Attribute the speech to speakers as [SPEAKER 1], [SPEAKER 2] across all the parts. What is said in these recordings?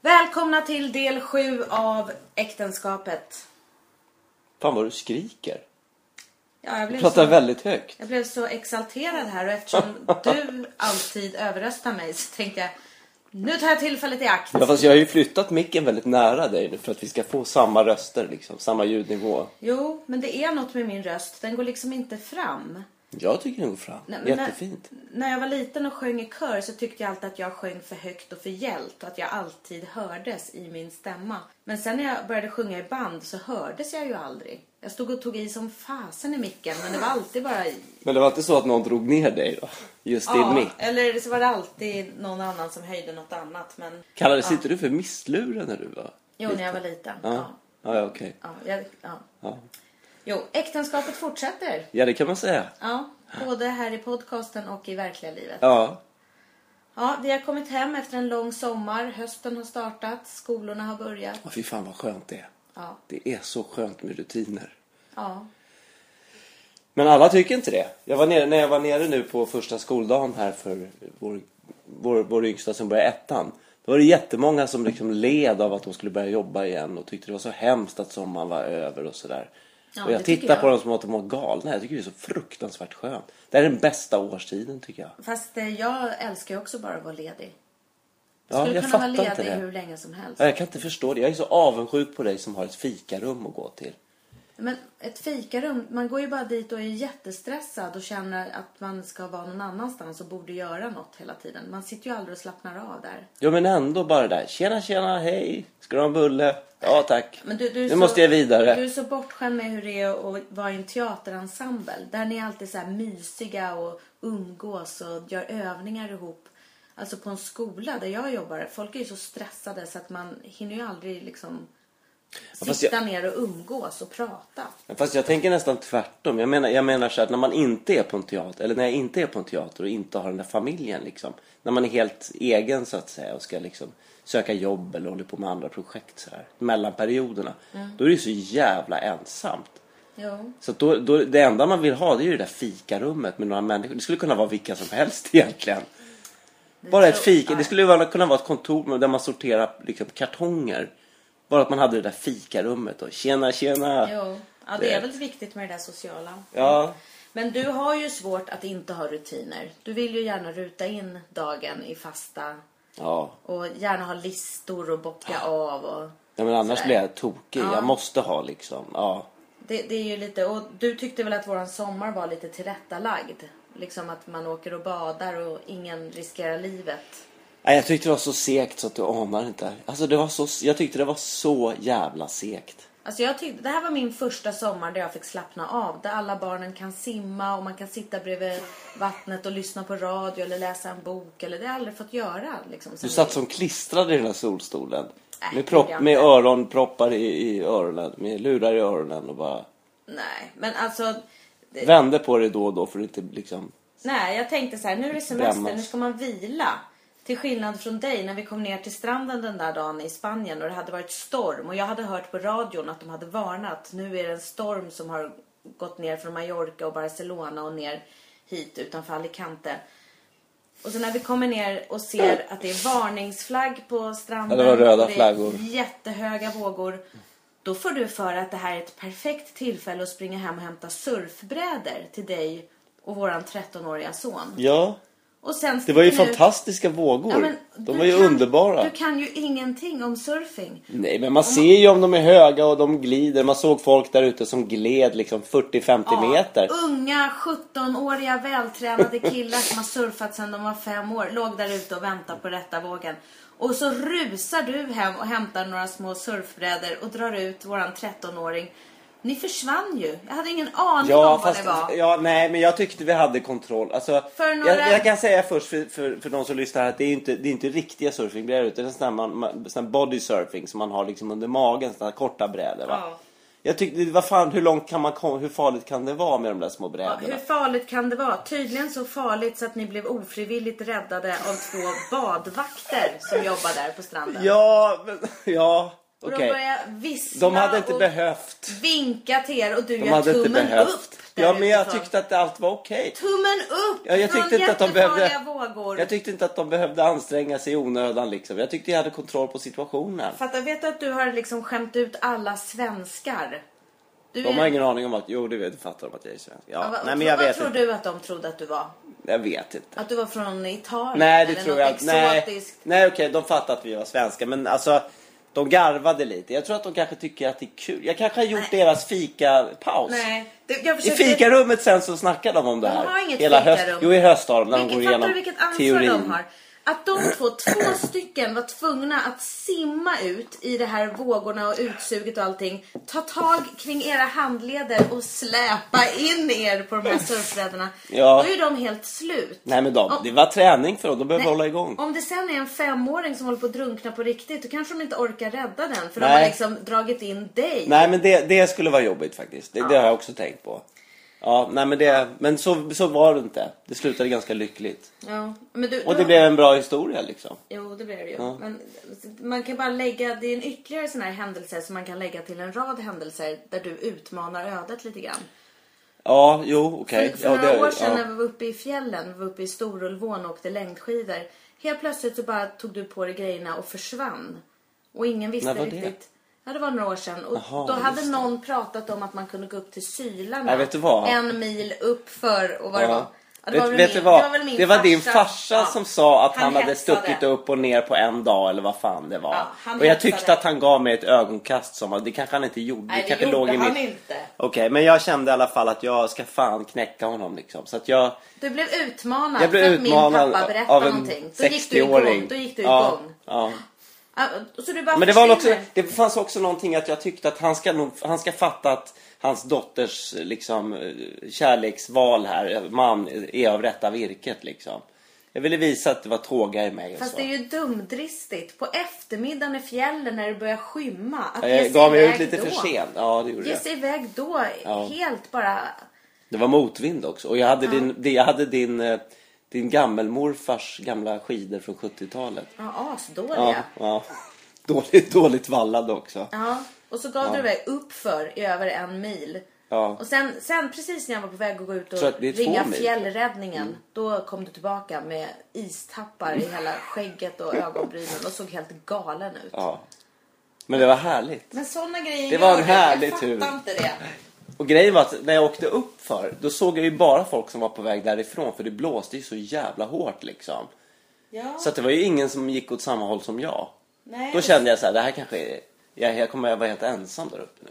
[SPEAKER 1] välkomna till del 7 av Äktenskapet.
[SPEAKER 2] Fan vad du skriker.
[SPEAKER 1] Ja, jag,
[SPEAKER 2] Du
[SPEAKER 1] blev
[SPEAKER 2] pratar
[SPEAKER 1] så,
[SPEAKER 2] väldigt högt.
[SPEAKER 1] jag blev så exalterad här och eftersom du alltid överröstar mig så tänkte jag nu tar jag tillfället i akt.
[SPEAKER 2] Ja, fast jag har ju flyttat micken väldigt nära dig nu för att vi ska få samma röster liksom, samma ljudnivå.
[SPEAKER 1] Jo, men det är något med min röst. Den går liksom inte fram.
[SPEAKER 2] Jag tycker den går fram.
[SPEAKER 1] Nej, men
[SPEAKER 2] Jättefint.
[SPEAKER 1] När, när jag var liten och sjöng i kör så tyckte jag alltid att jag sjöng för högt och för gällt och att jag alltid hördes i min stämma. Men sen när jag började sjunga i band så hördes jag ju aldrig. Jag stod och tog i som fasen i micken men det var alltid bara i.
[SPEAKER 2] Men det var inte så att någon drog ner dig då? Just din mick?
[SPEAKER 1] eller så var det alltid någon annan som höjde något annat. Men
[SPEAKER 2] Kallades inte du för missluren när du var
[SPEAKER 1] jo, när jag var liten. Ja.
[SPEAKER 2] Ja,
[SPEAKER 1] Ja.
[SPEAKER 2] ja, ja okej.
[SPEAKER 1] Ja, jag, ja.
[SPEAKER 2] Ja.
[SPEAKER 1] Jo, äktenskapet fortsätter.
[SPEAKER 2] ja, det kan man säga.
[SPEAKER 1] Ja, både här i podcasten och i verkliga livet.
[SPEAKER 2] Ja,
[SPEAKER 1] Ja, vi har kommit hem efter en lång sommar. Hösten har startat, skolorna har börjat.
[SPEAKER 2] oh, fy fan vad skönt det är.
[SPEAKER 1] Ja,
[SPEAKER 2] Det är så skönt med rutiner.
[SPEAKER 1] ja.
[SPEAKER 2] Men alla tycker inte det. Jag var nere, när jag var nere nu på första skoldagen här för vår, vår, vår yngsta som började ettan. Då var det jättemånga som liksom led av att de skulle börja jobba igen och tyckte det var så hemskt att sommaren var över och sådär.
[SPEAKER 1] Ja,
[SPEAKER 2] och
[SPEAKER 1] det
[SPEAKER 2] jag
[SPEAKER 1] tycker
[SPEAKER 2] tittar
[SPEAKER 1] jag.
[SPEAKER 2] på dem som att de var galna. Jag tycker det är så fruktansvärt skönt. Det här är den bästa årstiden tycker jag.
[SPEAKER 1] Fast eh, jag älskar ju också bara att vara ledig.
[SPEAKER 2] Ja,
[SPEAKER 1] Skulle
[SPEAKER 2] jag
[SPEAKER 1] kunna vara
[SPEAKER 2] fattar inte
[SPEAKER 1] ledig
[SPEAKER 2] det.
[SPEAKER 1] hur länge som helst.
[SPEAKER 2] Ja, Jag kan inte förstå det. Jag är så avundsjuk på dig som har ett fikarum att gå till.
[SPEAKER 1] Men ett fikarum, man går ju bara dit och är jättestressad och känner att man ska vara någon annanstans och borde göra något hela tiden. Man sitter ju aldrig och slappnar av där.
[SPEAKER 2] Ja men ändå bara det där. Tjena tjena, hej. Ska du ha en bulle? Ja tack.
[SPEAKER 1] Men du, du är
[SPEAKER 2] nu
[SPEAKER 1] så,
[SPEAKER 2] måste jag vidare.
[SPEAKER 1] Du är så bortskämd med hur det är att vara i en teaterensemble. Där ni är alltid så här mysiga och umgås och gör övningar ihop. Alltså på en skola där jag jobbar, folk är ju så stressade så att man hinner ju aldrig liksom
[SPEAKER 2] Ja, fast
[SPEAKER 1] sitta ner och umgås och prata.
[SPEAKER 2] Fast jag tänker nästan tvärtom. Jag menar, jag menar så här, att när man inte är på en teater, eller när jag inte är på en teater och inte har den där familjen liksom. När man är helt egen så att säga och ska liksom söka jobb eller håller på med andra projekt så här. Mellan perioderna.
[SPEAKER 1] Mm.
[SPEAKER 2] Då är det ju så jävla ensamt.
[SPEAKER 1] Jo.
[SPEAKER 2] Så att då, då, det enda man vill ha det är ju det där fikarummet med några människor. Det skulle kunna vara vilka som helst egentligen. Bara ett
[SPEAKER 1] tror-
[SPEAKER 2] fika.
[SPEAKER 1] nej.
[SPEAKER 2] Det skulle ju vara- kunna vara ett kontor med- där man sorterar liksom, kartonger. Bara att man hade det där fikarummet och tjena tjena.
[SPEAKER 1] Jo. Ja, det är väl viktigt med det där sociala.
[SPEAKER 2] Ja.
[SPEAKER 1] Men du har ju svårt att inte ha rutiner. Du vill ju gärna ruta in dagen i fasta
[SPEAKER 2] Ja,
[SPEAKER 1] och gärna ha listor och bocka av och
[SPEAKER 2] Ja, men annars blir jag tokig. Jag måste ha liksom. Ja.
[SPEAKER 1] det, det är ju lite och du tyckte väl att våran sommar var lite tillrättalagd. Liksom att man åker och badar och ingen riskerar livet.
[SPEAKER 2] Nej, jag tyckte det var så segt så att du anar inte. Alltså, det var så, jag tyckte det var så jävla segt.
[SPEAKER 1] Alltså jag tyckte, det här var min första sommar där jag fick slappna av. Där alla barnen kan simma och man kan sitta bredvid vattnet och lyssna på radio eller läsa en bok. Eller det har jag aldrig fått göra. Liksom, sen
[SPEAKER 2] Du satt som klistrad i den här solstolen.
[SPEAKER 1] Nej,
[SPEAKER 2] Med,
[SPEAKER 1] det gjorde
[SPEAKER 2] propp,
[SPEAKER 1] Äh, jag
[SPEAKER 2] med
[SPEAKER 1] inte.
[SPEAKER 2] öronproppar i, i öronen, med lurar i öronen och bara
[SPEAKER 1] vi- Nej, men alltså. Det,
[SPEAKER 2] vände på dig då och då för att inte liksom...
[SPEAKER 1] Nej, jag tänkte så här, nu är det semester,
[SPEAKER 2] Brännas.
[SPEAKER 1] nu ska man vila. Till skillnad från dig när vi kom ner till stranden den där dagen i Spanien och det hade varit storm och jag hade hört på radion att de hade varnat. Nu är det en storm som har gått ner från Mallorca och Barcelona och ner hit utanför Alicante. Och så när vi kommer ner och ser att det är varningsflagg på stranden.
[SPEAKER 2] Ja, det var röda
[SPEAKER 1] och
[SPEAKER 2] flaggor.
[SPEAKER 1] Jättehöga vågor. Då får du för att det här är ett perfekt tillfälle att springa hem och hämta surfbrädor till dig och våran 13-åriga son.
[SPEAKER 2] Ja,
[SPEAKER 1] Och sen
[SPEAKER 2] det var ju
[SPEAKER 1] sticker du-
[SPEAKER 2] fantastiska vågor.
[SPEAKER 1] Ja, men
[SPEAKER 2] De
[SPEAKER 1] du
[SPEAKER 2] var ju
[SPEAKER 1] kan-
[SPEAKER 2] underbara.
[SPEAKER 1] Du kan ju ingenting om surfing.
[SPEAKER 2] Nej, men man ser ju om de är höga och de glider. Man såg folk där ute som gled liksom 40-50 meter.
[SPEAKER 1] Unga 17-åriga vältränade killar som har surfat sedan de var fem år låg där ute och väntade på rätta vågen. Och så rusar du hem och hämtar några små surfbrädor och drar ut våran 13-åring. Ni försvann ju. Jag hade ingen aning om
[SPEAKER 2] Ja,
[SPEAKER 1] vad
[SPEAKER 2] fast,
[SPEAKER 1] det var.
[SPEAKER 2] ja, nej, men jag tyckte vi hade kontroll. Alltså,
[SPEAKER 1] För några-
[SPEAKER 2] jag, jag kan säga först för, för, för de som lyssnar här att det är ju inte, det är inte riktiga surfingbrädor utan det är sån här, man- man, sån här body surfing som man har liksom under magen, såna här korta brädor. Va?
[SPEAKER 1] Ja.
[SPEAKER 2] Jag tyckte, vad fan, hur långt kan man komma, hur farligt kan det vara med de där små
[SPEAKER 1] Ja,
[SPEAKER 2] brädorna?
[SPEAKER 1] Hur farligt kan det vara? Tydligen så farligt så att ni blev ofrivilligt räddade av två badvakter som jobbar där på stranden.
[SPEAKER 2] Ja, men, ja.
[SPEAKER 1] Och
[SPEAKER 2] Okej.
[SPEAKER 1] de börjar vissla
[SPEAKER 2] De hade inte
[SPEAKER 1] och
[SPEAKER 2] behövt.
[SPEAKER 1] vinka till er och du
[SPEAKER 2] De
[SPEAKER 1] gör
[SPEAKER 2] hade inte
[SPEAKER 1] tummen
[SPEAKER 2] behövt.
[SPEAKER 1] upp. där
[SPEAKER 2] Ja, men jag
[SPEAKER 1] utifrån.
[SPEAKER 2] tyckte att allt var okej.
[SPEAKER 1] Tummen upp
[SPEAKER 2] Ja, jag
[SPEAKER 1] från
[SPEAKER 2] tyckte inte att de
[SPEAKER 1] jättefarliga
[SPEAKER 2] behövde...
[SPEAKER 1] vågor.
[SPEAKER 2] Jag tyckte inte att de behövde anstränga sig i onödan liksom. Jag tyckte jag hade kontroll på situationen.
[SPEAKER 1] Fatta, vet du att du har liksom skämt ut alla svenskar? Du
[SPEAKER 2] De har ingen aning om att... Jo, det vet, det fattar de att jag är svensk. Ja,
[SPEAKER 1] Ja, vad-
[SPEAKER 2] nej, men jag
[SPEAKER 1] vad
[SPEAKER 2] vet
[SPEAKER 1] tror
[SPEAKER 2] inte.
[SPEAKER 1] du att de trodde att du var?
[SPEAKER 2] Jag vet inte.
[SPEAKER 1] Att du var från Italien?
[SPEAKER 2] Nej, det
[SPEAKER 1] eller
[SPEAKER 2] tror
[SPEAKER 1] något
[SPEAKER 2] jag inte. Nej,
[SPEAKER 1] exotiskt?
[SPEAKER 2] nej okej, de fattade att vi var svenska. Men alltså, de garvade lite. Jag tror att de kanske tycker att det är kul. Jag kanske har gjort deras fikapaus.
[SPEAKER 1] Nej. Det, jag
[SPEAKER 2] I
[SPEAKER 1] försökte...
[SPEAKER 2] fikarummet sen så snackar de om det
[SPEAKER 1] De
[SPEAKER 2] här.
[SPEAKER 1] har inget
[SPEAKER 2] höst.
[SPEAKER 1] fikarum.
[SPEAKER 2] Jo, i höst har de när de går
[SPEAKER 1] vilket, fattar
[SPEAKER 2] igenom
[SPEAKER 1] du vilket ansvar
[SPEAKER 2] teorin.
[SPEAKER 1] de har? Att de två, två stycken var tvungna att simma ut i det här vågorna och utsuget och allting. Ta tag kring era handleder och släpa in er på de här surfbrädorna.
[SPEAKER 2] Ja.
[SPEAKER 1] Då är de helt slut.
[SPEAKER 2] Nej men de,
[SPEAKER 1] Om-
[SPEAKER 2] det var träning för dem. De behöver
[SPEAKER 1] Nej,
[SPEAKER 2] hålla igång.
[SPEAKER 1] Om det sen är en femåring som håller på att drunkna på riktigt, då kanske de inte orkar rädda den. För de
[SPEAKER 2] Nej.
[SPEAKER 1] har liksom dragit in dig.
[SPEAKER 2] Nej men det, det skulle vara jobbigt faktiskt. Det, det har jag också tänkt på. Ja, nej men det, men så, så var det inte. Det slutade ganska lyckligt.
[SPEAKER 1] Ja. Men du, du
[SPEAKER 2] Och det
[SPEAKER 1] har-
[SPEAKER 2] blev en bra historia liksom.
[SPEAKER 1] Jo, det blir det ju. Men man kan bara lägga, det är en ytterligare sån här händelse som man kan lägga till en rad händelser där du utmanar ödet lite grann.
[SPEAKER 2] Ja, jo, okej.
[SPEAKER 1] För, för
[SPEAKER 2] Ja,
[SPEAKER 1] några
[SPEAKER 2] det-
[SPEAKER 1] år sedan
[SPEAKER 2] ja.
[SPEAKER 1] när vi var uppe i fjällen, vi var uppe i Storulvån och åkte längdskidor. Helt plötsligt så bara tog du på dig grejerna och försvann. Och ingen visste
[SPEAKER 2] När var det?
[SPEAKER 1] riktigt. Ja, det var några år sedan. Och
[SPEAKER 2] Jaha,
[SPEAKER 1] då hade
[SPEAKER 2] just det.
[SPEAKER 1] någon pratat om att man kunde gå upp till Sylarna.
[SPEAKER 2] Nej, vet du vad?
[SPEAKER 1] En mil uppför och vad det var.
[SPEAKER 2] Ja.
[SPEAKER 1] Ja,
[SPEAKER 2] vet,
[SPEAKER 1] var väl
[SPEAKER 2] vet
[SPEAKER 1] min-
[SPEAKER 2] du vad?
[SPEAKER 1] det var väl min
[SPEAKER 2] det var din farsa
[SPEAKER 1] Ja.
[SPEAKER 2] som sa att
[SPEAKER 1] Han
[SPEAKER 2] han, hade
[SPEAKER 1] hetsade.
[SPEAKER 2] stuckit upp och ner på en dag eller vad fan det var.
[SPEAKER 1] Ja, han
[SPEAKER 2] och jag
[SPEAKER 1] hetsade.
[SPEAKER 2] tyckte att han gav mig ett ögonkast som var- det kanske han inte gjorde.
[SPEAKER 1] Nej, det
[SPEAKER 2] kanske
[SPEAKER 1] gjorde
[SPEAKER 2] låg i
[SPEAKER 1] han
[SPEAKER 2] mitt...
[SPEAKER 1] inte.
[SPEAKER 2] Okej, men jag kände i alla fall att jag ska fan knäcka honom liksom. Så att jag...
[SPEAKER 1] Du blev utmanad
[SPEAKER 2] Jag blev
[SPEAKER 1] för att
[SPEAKER 2] utmanad
[SPEAKER 1] min pappa berättade
[SPEAKER 2] av en
[SPEAKER 1] någonting. Då gick du
[SPEAKER 2] 60-åring.
[SPEAKER 1] igång. Då gick du
[SPEAKER 2] Ja,
[SPEAKER 1] igång.
[SPEAKER 2] ja.
[SPEAKER 1] Ja, Så du bara
[SPEAKER 2] Men det, var också,
[SPEAKER 1] försvinner.
[SPEAKER 2] det fanns också någonting att jag tyckte att han ska, nog, han ska fatta att hans dotters liksom, eh, kärleksval här, eh, man, är av rätta virket. Liksom. Jag ville visa att det var tåga i mig. Och
[SPEAKER 1] Fast
[SPEAKER 2] så.
[SPEAKER 1] det är ju dumdristigt. På eftermiddagen i fjällen när det börjar skymma. Att ge sig
[SPEAKER 2] Jag gav mig ut
[SPEAKER 1] iväg
[SPEAKER 2] lite
[SPEAKER 1] då.
[SPEAKER 2] för sent. Ja, det gjorde
[SPEAKER 1] Ge
[SPEAKER 2] jag.
[SPEAKER 1] sig iväg då.
[SPEAKER 2] Ja.
[SPEAKER 1] Helt bara.
[SPEAKER 2] Det var motvind också. Och jag hade, din, det- jag hade din, eh, din gammelmorfars gamla skidor från 70-talet.
[SPEAKER 1] Ja, asdåliga.
[SPEAKER 2] Ja,
[SPEAKER 1] Ja.
[SPEAKER 2] ja. Dåligt, dåligt vallad också.
[SPEAKER 1] Och så gav du dig uppför i över en mil.
[SPEAKER 2] Ja.
[SPEAKER 1] Och sen, sen precis när jag var på väg att gå ut
[SPEAKER 2] Så att
[SPEAKER 1] och
[SPEAKER 2] det är två
[SPEAKER 1] ringa
[SPEAKER 2] mil. Mm.
[SPEAKER 1] fjällräddningen. Då kom du tillbaka med istappar i hela skägget och ögonbrynen och såg helt galen ut.
[SPEAKER 2] Mm. Ja. Men det var härligt.
[SPEAKER 1] Men såna grejer
[SPEAKER 2] Det var en
[SPEAKER 1] gör du.
[SPEAKER 2] härlig
[SPEAKER 1] Jag
[SPEAKER 2] tur.
[SPEAKER 1] fattar inte det.
[SPEAKER 2] Och grejen var att när jag åkte upp för då såg jag ju bara folk som var på väg därifrån för det blåste ju så jävla hårt liksom.
[SPEAKER 1] Ja,
[SPEAKER 2] Så att det var ju ingen som gick åt samma håll som jag.
[SPEAKER 1] nej.
[SPEAKER 2] Då kände jag så här, det här kanske är, jag, jag kommer att vara helt ensam där uppe nu.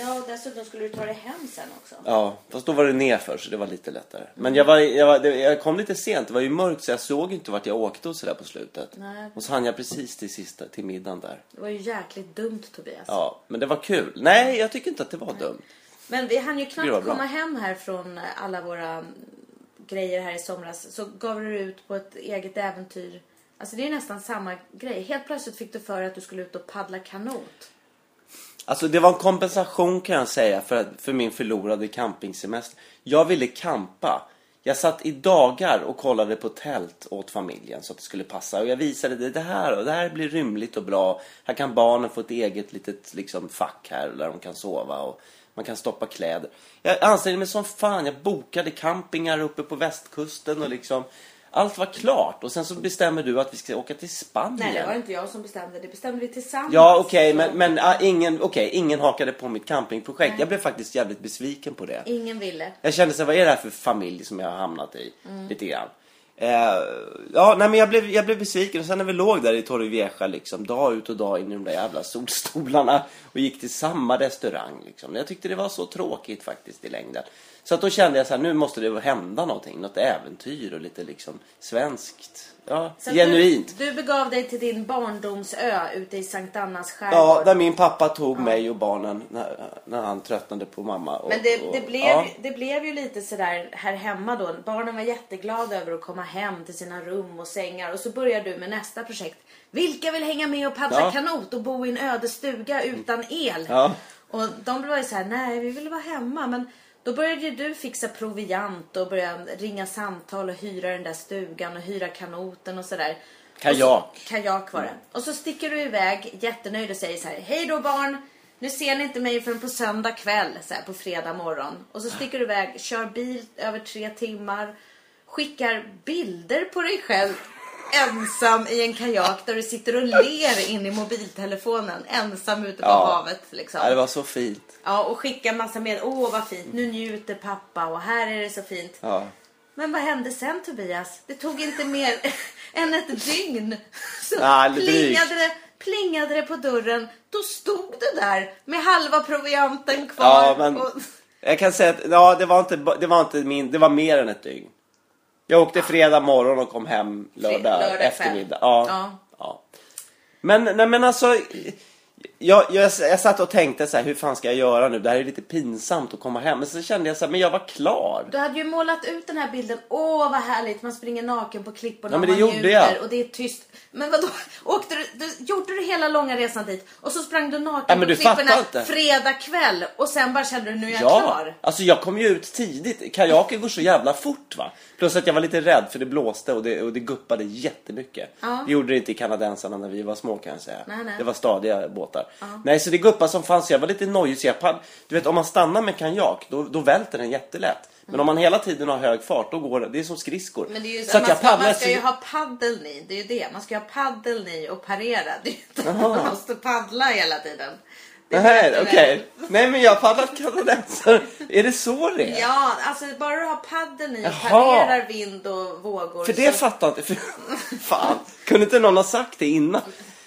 [SPEAKER 1] ja, och dessutom skulle du ta dig hem sen också.
[SPEAKER 2] Ja, fast då var det nerför så det var lite lättare. Men jag, var, jag, var, det- jag kom lite sent, det var ju mörkt så jag såg inte vart jag åkte och sådär på slutet.
[SPEAKER 1] Nej.
[SPEAKER 2] Och så hann jag precis till sista, till middagen där.
[SPEAKER 1] Det var ju jäkligt dumt Tobias.
[SPEAKER 2] Ja, men det var kul. Nej, jag tycker inte att det var dumt.
[SPEAKER 1] Men vi hann ju knappt
[SPEAKER 2] Det var bra.
[SPEAKER 1] komma hem här från alla våra mm, grejer här i somras. Så gav du dig ut på ett eget äventyr. Alltså det är ju nästan samma grej. Helt plötsligt fick du för dig att du skulle ut och paddla kanot.
[SPEAKER 2] Alltså det var en kompensation kan jag säga för, för min förlorade campingsemester. Jag ville campa. Jag satt i dagar och kollade på tält åt familjen så att det skulle passa. Och jag visade det, det här och det här blir rymligt och bra. Här kan barnen få ett eget litet liksom, fack här där de kan sova och man kan stoppa kläder. Jag ansträngde mig som fan. Jag bokade campingar uppe på västkusten och liksom allt var klart. Och sen så bestämmer du att vi ska åka till Spanien.
[SPEAKER 1] Nej, det var inte jag som bestämde. Det bestämde vi tillsammans.
[SPEAKER 2] Ja okej men, men ah, ingen, okej, ingen hakade på mitt campingprojekt. Jag blev faktiskt jävligt besviken på det.
[SPEAKER 1] Ingen ville.
[SPEAKER 2] Jag kände så här, vad är det här för familj som jag har hamnat i?
[SPEAKER 1] Mm.
[SPEAKER 2] Lite grann. Eh, ja, nej men jag blev, jag blev besviken och sen när vi låg där i Torrevieja liksom dag ut och dag in i de där jävla solstolarna och gick till samma restaurang liksom. Jag tyckte det var så tråkigt faktiskt i längden. Så att då kände jag så här, nu måste det hända någonting, något äventyr och lite liksom svenskt. Ja,
[SPEAKER 1] Så att
[SPEAKER 2] genuint.
[SPEAKER 1] Du, du begav dig till din barndomsö ute i Sankt Annas skärgård.
[SPEAKER 2] Ja, där min pappa tog mig och barnen när, när han tröttnade på mamma. Och,
[SPEAKER 1] Men det,
[SPEAKER 2] och,
[SPEAKER 1] det, blev,
[SPEAKER 2] ja.
[SPEAKER 1] det blev ju lite sådär här hemma då. Barnen var jätteglada över att komma hem till sina rum och sängar. Och så börjar du med nästa projekt. Vilka vill hänga med och paddla
[SPEAKER 2] Ja.
[SPEAKER 1] kanot och bo i en öde stuga utan el?
[SPEAKER 2] Ja.
[SPEAKER 1] Och de blev ju så här, nej vi vill vara hemma. Men då började ju du fixa proviant och börja ringa samtal och hyra den där stugan och hyra kanoten och sådär.
[SPEAKER 2] Kajak. Mm.
[SPEAKER 1] Kajak var det. Och så sticker du iväg jättenöjd och säger så här. Hej då barn! Nu ser ni inte mig förrän på söndag kväll, så här, på fredag morgon. Och så sticker du iväg, kör bil över tre timmar, skickar bilder på dig själv ensam i en kajak där du sitter och ler in i mobiltelefonen ensam ute på
[SPEAKER 2] Ja.
[SPEAKER 1] havet. Liksom.
[SPEAKER 2] Ja, det var så fint.
[SPEAKER 1] Ja, och skicka massa med. Åh, vad fint. Nu njuter pappa och här är det så fint.
[SPEAKER 2] Ja.
[SPEAKER 1] Men vad hände sen Tobias? Det tog inte mer än ett dygn. Så
[SPEAKER 2] Ja, eller
[SPEAKER 1] plingade, det, plingade det på dörren. Då stod du där med halva provianten kvar.
[SPEAKER 2] Ja, men
[SPEAKER 1] och-
[SPEAKER 2] jag kan säga att ja, det, var inte, ba- det var inte min, det var mer än ett dygn. Jag åkte fredag morgon och kom hem lördag,
[SPEAKER 1] Fre- lördag
[SPEAKER 2] eftermiddag.
[SPEAKER 1] kväll.
[SPEAKER 2] Ja,
[SPEAKER 1] Ja.
[SPEAKER 2] ja. Men, nej, men alltså, jag, jag, jag satt och tänkte så här, hur fan ska jag göra nu? Det här är lite pinsamt att komma hem. Men så kände jag så här, men jag var klar.
[SPEAKER 1] Du hade ju målat ut den här bilden. Åh, vad härligt. Man springer naken på klipporna.
[SPEAKER 2] Ja, men det
[SPEAKER 1] man
[SPEAKER 2] gjorde
[SPEAKER 1] njuter
[SPEAKER 2] jag.
[SPEAKER 1] Och det är tyst. Men vadå? Åkte du, du, gjorde du hela långa resan dit och så sprang du naken
[SPEAKER 2] Ja, men
[SPEAKER 1] på
[SPEAKER 2] du fattar
[SPEAKER 1] klipporna
[SPEAKER 2] inte.
[SPEAKER 1] fredag kväll och sen bara kände du nu är jag klar.
[SPEAKER 2] alltså jag kom ju ut tidigt. Kajaken går så jävla fort va. Plus att jag var lite rädd för det blåste och det, och det guppade jättemycket.
[SPEAKER 1] Ja.
[SPEAKER 2] Det gjorde det inte i kanadensarna när vi var små kan jag säga.
[SPEAKER 1] Nej, nej.
[SPEAKER 2] Det var stadiga båtar. Nej, så det guppade som fanns. Jag var lite nojig så jag pad... Du vet om man stannar med kajak då, då välter den jättelätt. Men om man hela tiden har hög fart då går det, det är som skridskor.
[SPEAKER 1] Men det är ju så,
[SPEAKER 2] så att
[SPEAKER 1] man,
[SPEAKER 2] jag
[SPEAKER 1] ska,
[SPEAKER 2] paddlar
[SPEAKER 1] man ska ju
[SPEAKER 2] så-
[SPEAKER 1] ha paddeln i, det är ju det. Man ska ju ha paddeln i och parera. Det är ju inte att man måste paddla hela tiden. Det är
[SPEAKER 2] Nej,
[SPEAKER 1] bättre.
[SPEAKER 2] okej. Nej men jag har paddlat kanadensare. är det så det är?
[SPEAKER 1] Ja, alltså bara du har paddeln i och
[SPEAKER 2] Jaha.
[SPEAKER 1] parerar vind och vågor.
[SPEAKER 2] För det
[SPEAKER 1] så-
[SPEAKER 2] fattar inte... För, fan, kunde inte någon ha sagt det innan?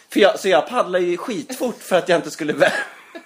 [SPEAKER 2] För jag, så jag paddlade ju skitfort för att jag inte skulle vä-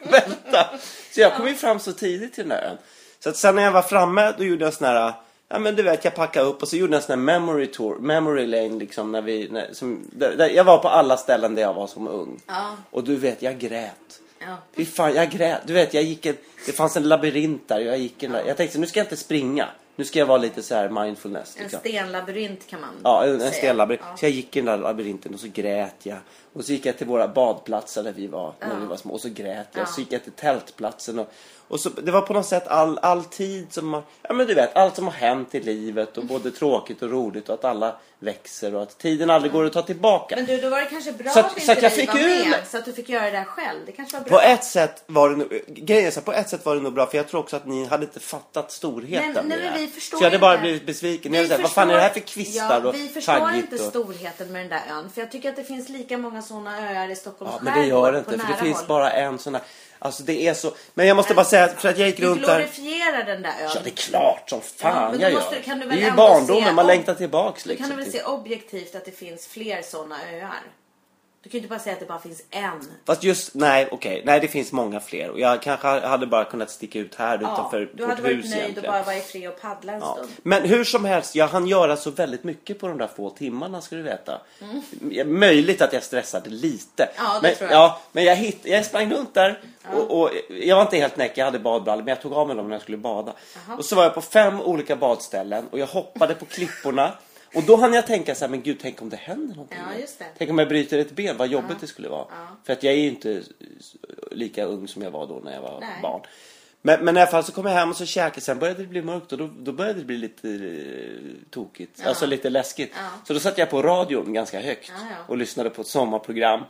[SPEAKER 2] vänta. Så jag kom ju fram så tidigt till den där ön. Så att sen när jag var framme, då gjorde jag sån här... Ja men du vet, jag packade upp och så gjorde jag en sån här memory tour, memory lane liksom när vi... När, som, där, där, jag var på alla ställen där jag var som ung.
[SPEAKER 1] Ja.
[SPEAKER 2] Och du vet, jag grät.
[SPEAKER 1] Ja.
[SPEAKER 2] Fy fan, jag grät. Du vet, jag gick en, det fanns en labyrint där. Jag, gick en, jag tänkte, nu ska jag inte springa. Nu ska jag vara lite så här mindfulness.
[SPEAKER 1] En
[SPEAKER 2] liksom.
[SPEAKER 1] stenlabyrint kan man
[SPEAKER 2] Ja, en, en
[SPEAKER 1] säga.
[SPEAKER 2] stenlabyrint.
[SPEAKER 1] Ja.
[SPEAKER 2] Så jag gick i den där labyrinten och så grät jag. Och så gick jag till våra badplatser där vi var när vi var små och så grät jag.
[SPEAKER 1] Ja.
[SPEAKER 2] Så gick jag till tältplatsen och, och så, det var på något sätt all, all tid som man, ja men du vet, allt som har hänt i livet och både tråkigt och roligt och att alla växer och att tiden aldrig går att ta tillbaka.
[SPEAKER 1] Men du, då var det kanske bra
[SPEAKER 2] Så att-
[SPEAKER 1] att, inte
[SPEAKER 2] så att jag
[SPEAKER 1] vi
[SPEAKER 2] fick
[SPEAKER 1] var
[SPEAKER 2] ur
[SPEAKER 1] med,
[SPEAKER 2] mig-
[SPEAKER 1] så att du fick göra det där själv. Det kanske var bra.
[SPEAKER 2] På ett sätt var det nog, grejen är så här, på ett sätt var det nog bra för jag tror också att ni hade inte fattat storheten
[SPEAKER 1] Nej, nej,
[SPEAKER 2] i det
[SPEAKER 1] men
[SPEAKER 2] här.
[SPEAKER 1] vi förstår
[SPEAKER 2] Så jag hade bara
[SPEAKER 1] inte.
[SPEAKER 2] blivit besviken.
[SPEAKER 1] Vi
[SPEAKER 2] Ni hade sagt, vad fan är
[SPEAKER 1] förstår-
[SPEAKER 2] det här för kvistar
[SPEAKER 1] ja,
[SPEAKER 2] och
[SPEAKER 1] Vi förstår
[SPEAKER 2] taggigt
[SPEAKER 1] inte
[SPEAKER 2] och...
[SPEAKER 1] storheten med den där ön. För jag tycker att det finns lika många sådana öar i Stockholms
[SPEAKER 2] Ja, men
[SPEAKER 1] skärgård.
[SPEAKER 2] det gör det
[SPEAKER 1] på
[SPEAKER 2] inte för det
[SPEAKER 1] nära
[SPEAKER 2] finns
[SPEAKER 1] håll.
[SPEAKER 2] bara en sån här. Alltså det är så. Men jag måste bara säga för att jag gick
[SPEAKER 1] Du
[SPEAKER 2] runt där.
[SPEAKER 1] glorifierar den där ön.
[SPEAKER 2] Ja det är klart som
[SPEAKER 1] Ja,
[SPEAKER 2] fan
[SPEAKER 1] men då
[SPEAKER 2] jag
[SPEAKER 1] måste-
[SPEAKER 2] gör.
[SPEAKER 1] kan du
[SPEAKER 2] det
[SPEAKER 1] väl
[SPEAKER 2] är ju
[SPEAKER 1] ändå se-
[SPEAKER 2] barndomen, man
[SPEAKER 1] om-
[SPEAKER 2] längtar tillbaks
[SPEAKER 1] Du kan
[SPEAKER 2] liksom.
[SPEAKER 1] väl
[SPEAKER 2] till-
[SPEAKER 1] se objektivt att det finns fler sådana öar? Du kan ju inte bara säga att det bara finns en.
[SPEAKER 2] Fast just, nej okej, nej det finns många fler. Och jag kanske hade bara kunnat sticka ut här utanför
[SPEAKER 1] du
[SPEAKER 2] vårt
[SPEAKER 1] hade
[SPEAKER 2] hus
[SPEAKER 1] varit nöjd
[SPEAKER 2] egentligen.
[SPEAKER 1] och bara varit fri och paddla en
[SPEAKER 2] Ja.
[SPEAKER 1] stund.
[SPEAKER 2] Men hur som helst, jag hann göra så väldigt mycket på de där få timmarna ska du veta. Mm. Möjligt att jag stressade lite.
[SPEAKER 1] Ja, det
[SPEAKER 2] men,
[SPEAKER 1] tror jag.
[SPEAKER 2] Ja, men jag, hitt, jag sprang runt där och, och jag var inte helt näck, jag hade badbrallor men jag tog av mig dem när jag skulle bada. Och så var jag på fem olika badställen och jag hoppade på klipporna. Och då hann jag tänka så här, men gud tänk om det händer någonting.
[SPEAKER 1] Ja,
[SPEAKER 2] nu?
[SPEAKER 1] just det.
[SPEAKER 2] Tänk om jag bryter ett ben, vad jobbigt det skulle vara. För att jag är ju inte s- s- lika ung som jag var då när jag var
[SPEAKER 1] Nej.
[SPEAKER 2] barn. Men, men i alla fall så kom jag hem och så käkade, sen började det bli mörkt och då, då började det bli lite eh, tokigt, alltså lite läskigt. Så då satte jag på radion ganska högt
[SPEAKER 1] Ja, ja.
[SPEAKER 2] och lyssnade på ett sommarprogram.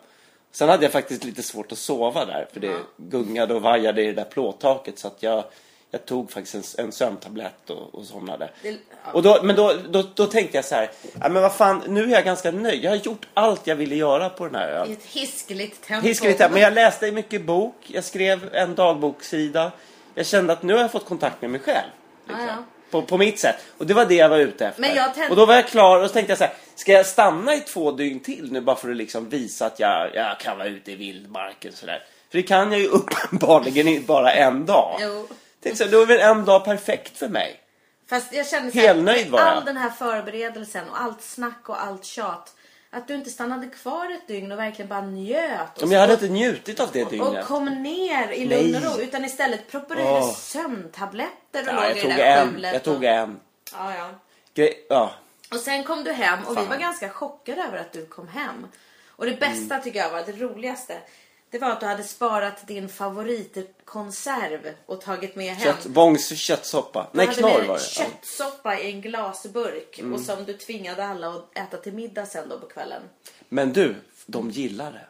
[SPEAKER 2] Sen hade jag faktiskt lite svårt att sova där för det gungade och vajade i det där plåttaket så att jag, jag tog faktiskt en, en sömntablett och, och somnade.
[SPEAKER 1] Det- ja.
[SPEAKER 2] Och då, men då, då, då tänkte jag så här, ja, men vad fan, nu är jag ganska nöjd. Jag har gjort allt jag ville göra på den här ön.
[SPEAKER 1] I ett hiskeligt tempo.
[SPEAKER 2] Hiskeligt här, men jag läste mycket bok. Jag skrev en dagbokssida. Jag kände att nu har jag fått kontakt med mig själv. liksom.
[SPEAKER 1] Ja, ja.
[SPEAKER 2] På, på mitt sätt. Och det var det jag var ute efter.
[SPEAKER 1] Men jag tänkte-
[SPEAKER 2] Och då var jag klar och så tänkte jag så här, ska jag stanna i två dygn till nu bara för att liksom visa att jag, jag kan vara ute i vildmarken sådär. För det kan jag ju uppenbarligen inte bara en dag.
[SPEAKER 1] Jo.
[SPEAKER 2] Tänkte så här, då är väl en dag perfekt för mig.
[SPEAKER 1] Fast jag kände så
[SPEAKER 2] Helnöjd var jag.
[SPEAKER 1] all den här förberedelsen och allt snack och allt tjat. Att du inte stannade kvar ett dygn och verkligen bara njöt. Och,
[SPEAKER 2] Om jag hade inte njutit av det dygnet.
[SPEAKER 1] och kom ner i lugn och
[SPEAKER 2] Nej.
[SPEAKER 1] ro. Utan istället proppade du i
[SPEAKER 2] Åh.
[SPEAKER 1] dig sömntabletter och
[SPEAKER 2] ja,
[SPEAKER 1] låg
[SPEAKER 2] jag
[SPEAKER 1] i
[SPEAKER 2] tog
[SPEAKER 1] det där
[SPEAKER 2] en.
[SPEAKER 1] skjulet.
[SPEAKER 2] Jag
[SPEAKER 1] och-
[SPEAKER 2] tog en.
[SPEAKER 1] Ja, ja.
[SPEAKER 2] Gre- ja.
[SPEAKER 1] Och sen kom du hem och vi
[SPEAKER 2] Fan. Mm.
[SPEAKER 1] var ganska chockade över att du kom hem. Och det bästa tycker jag var, det roligaste, Det var att du hade sparat din favoritkonserv och tagit med hem.
[SPEAKER 2] Kött, Wångs köttsoppa.
[SPEAKER 1] Du
[SPEAKER 2] Nej,
[SPEAKER 1] hade
[SPEAKER 2] knorr
[SPEAKER 1] med
[SPEAKER 2] var det. Mm.
[SPEAKER 1] köttsoppa i en glasburk och som du tvingade alla att äta till middag sen då på kvällen.
[SPEAKER 2] Ja. Men du, de gillar det.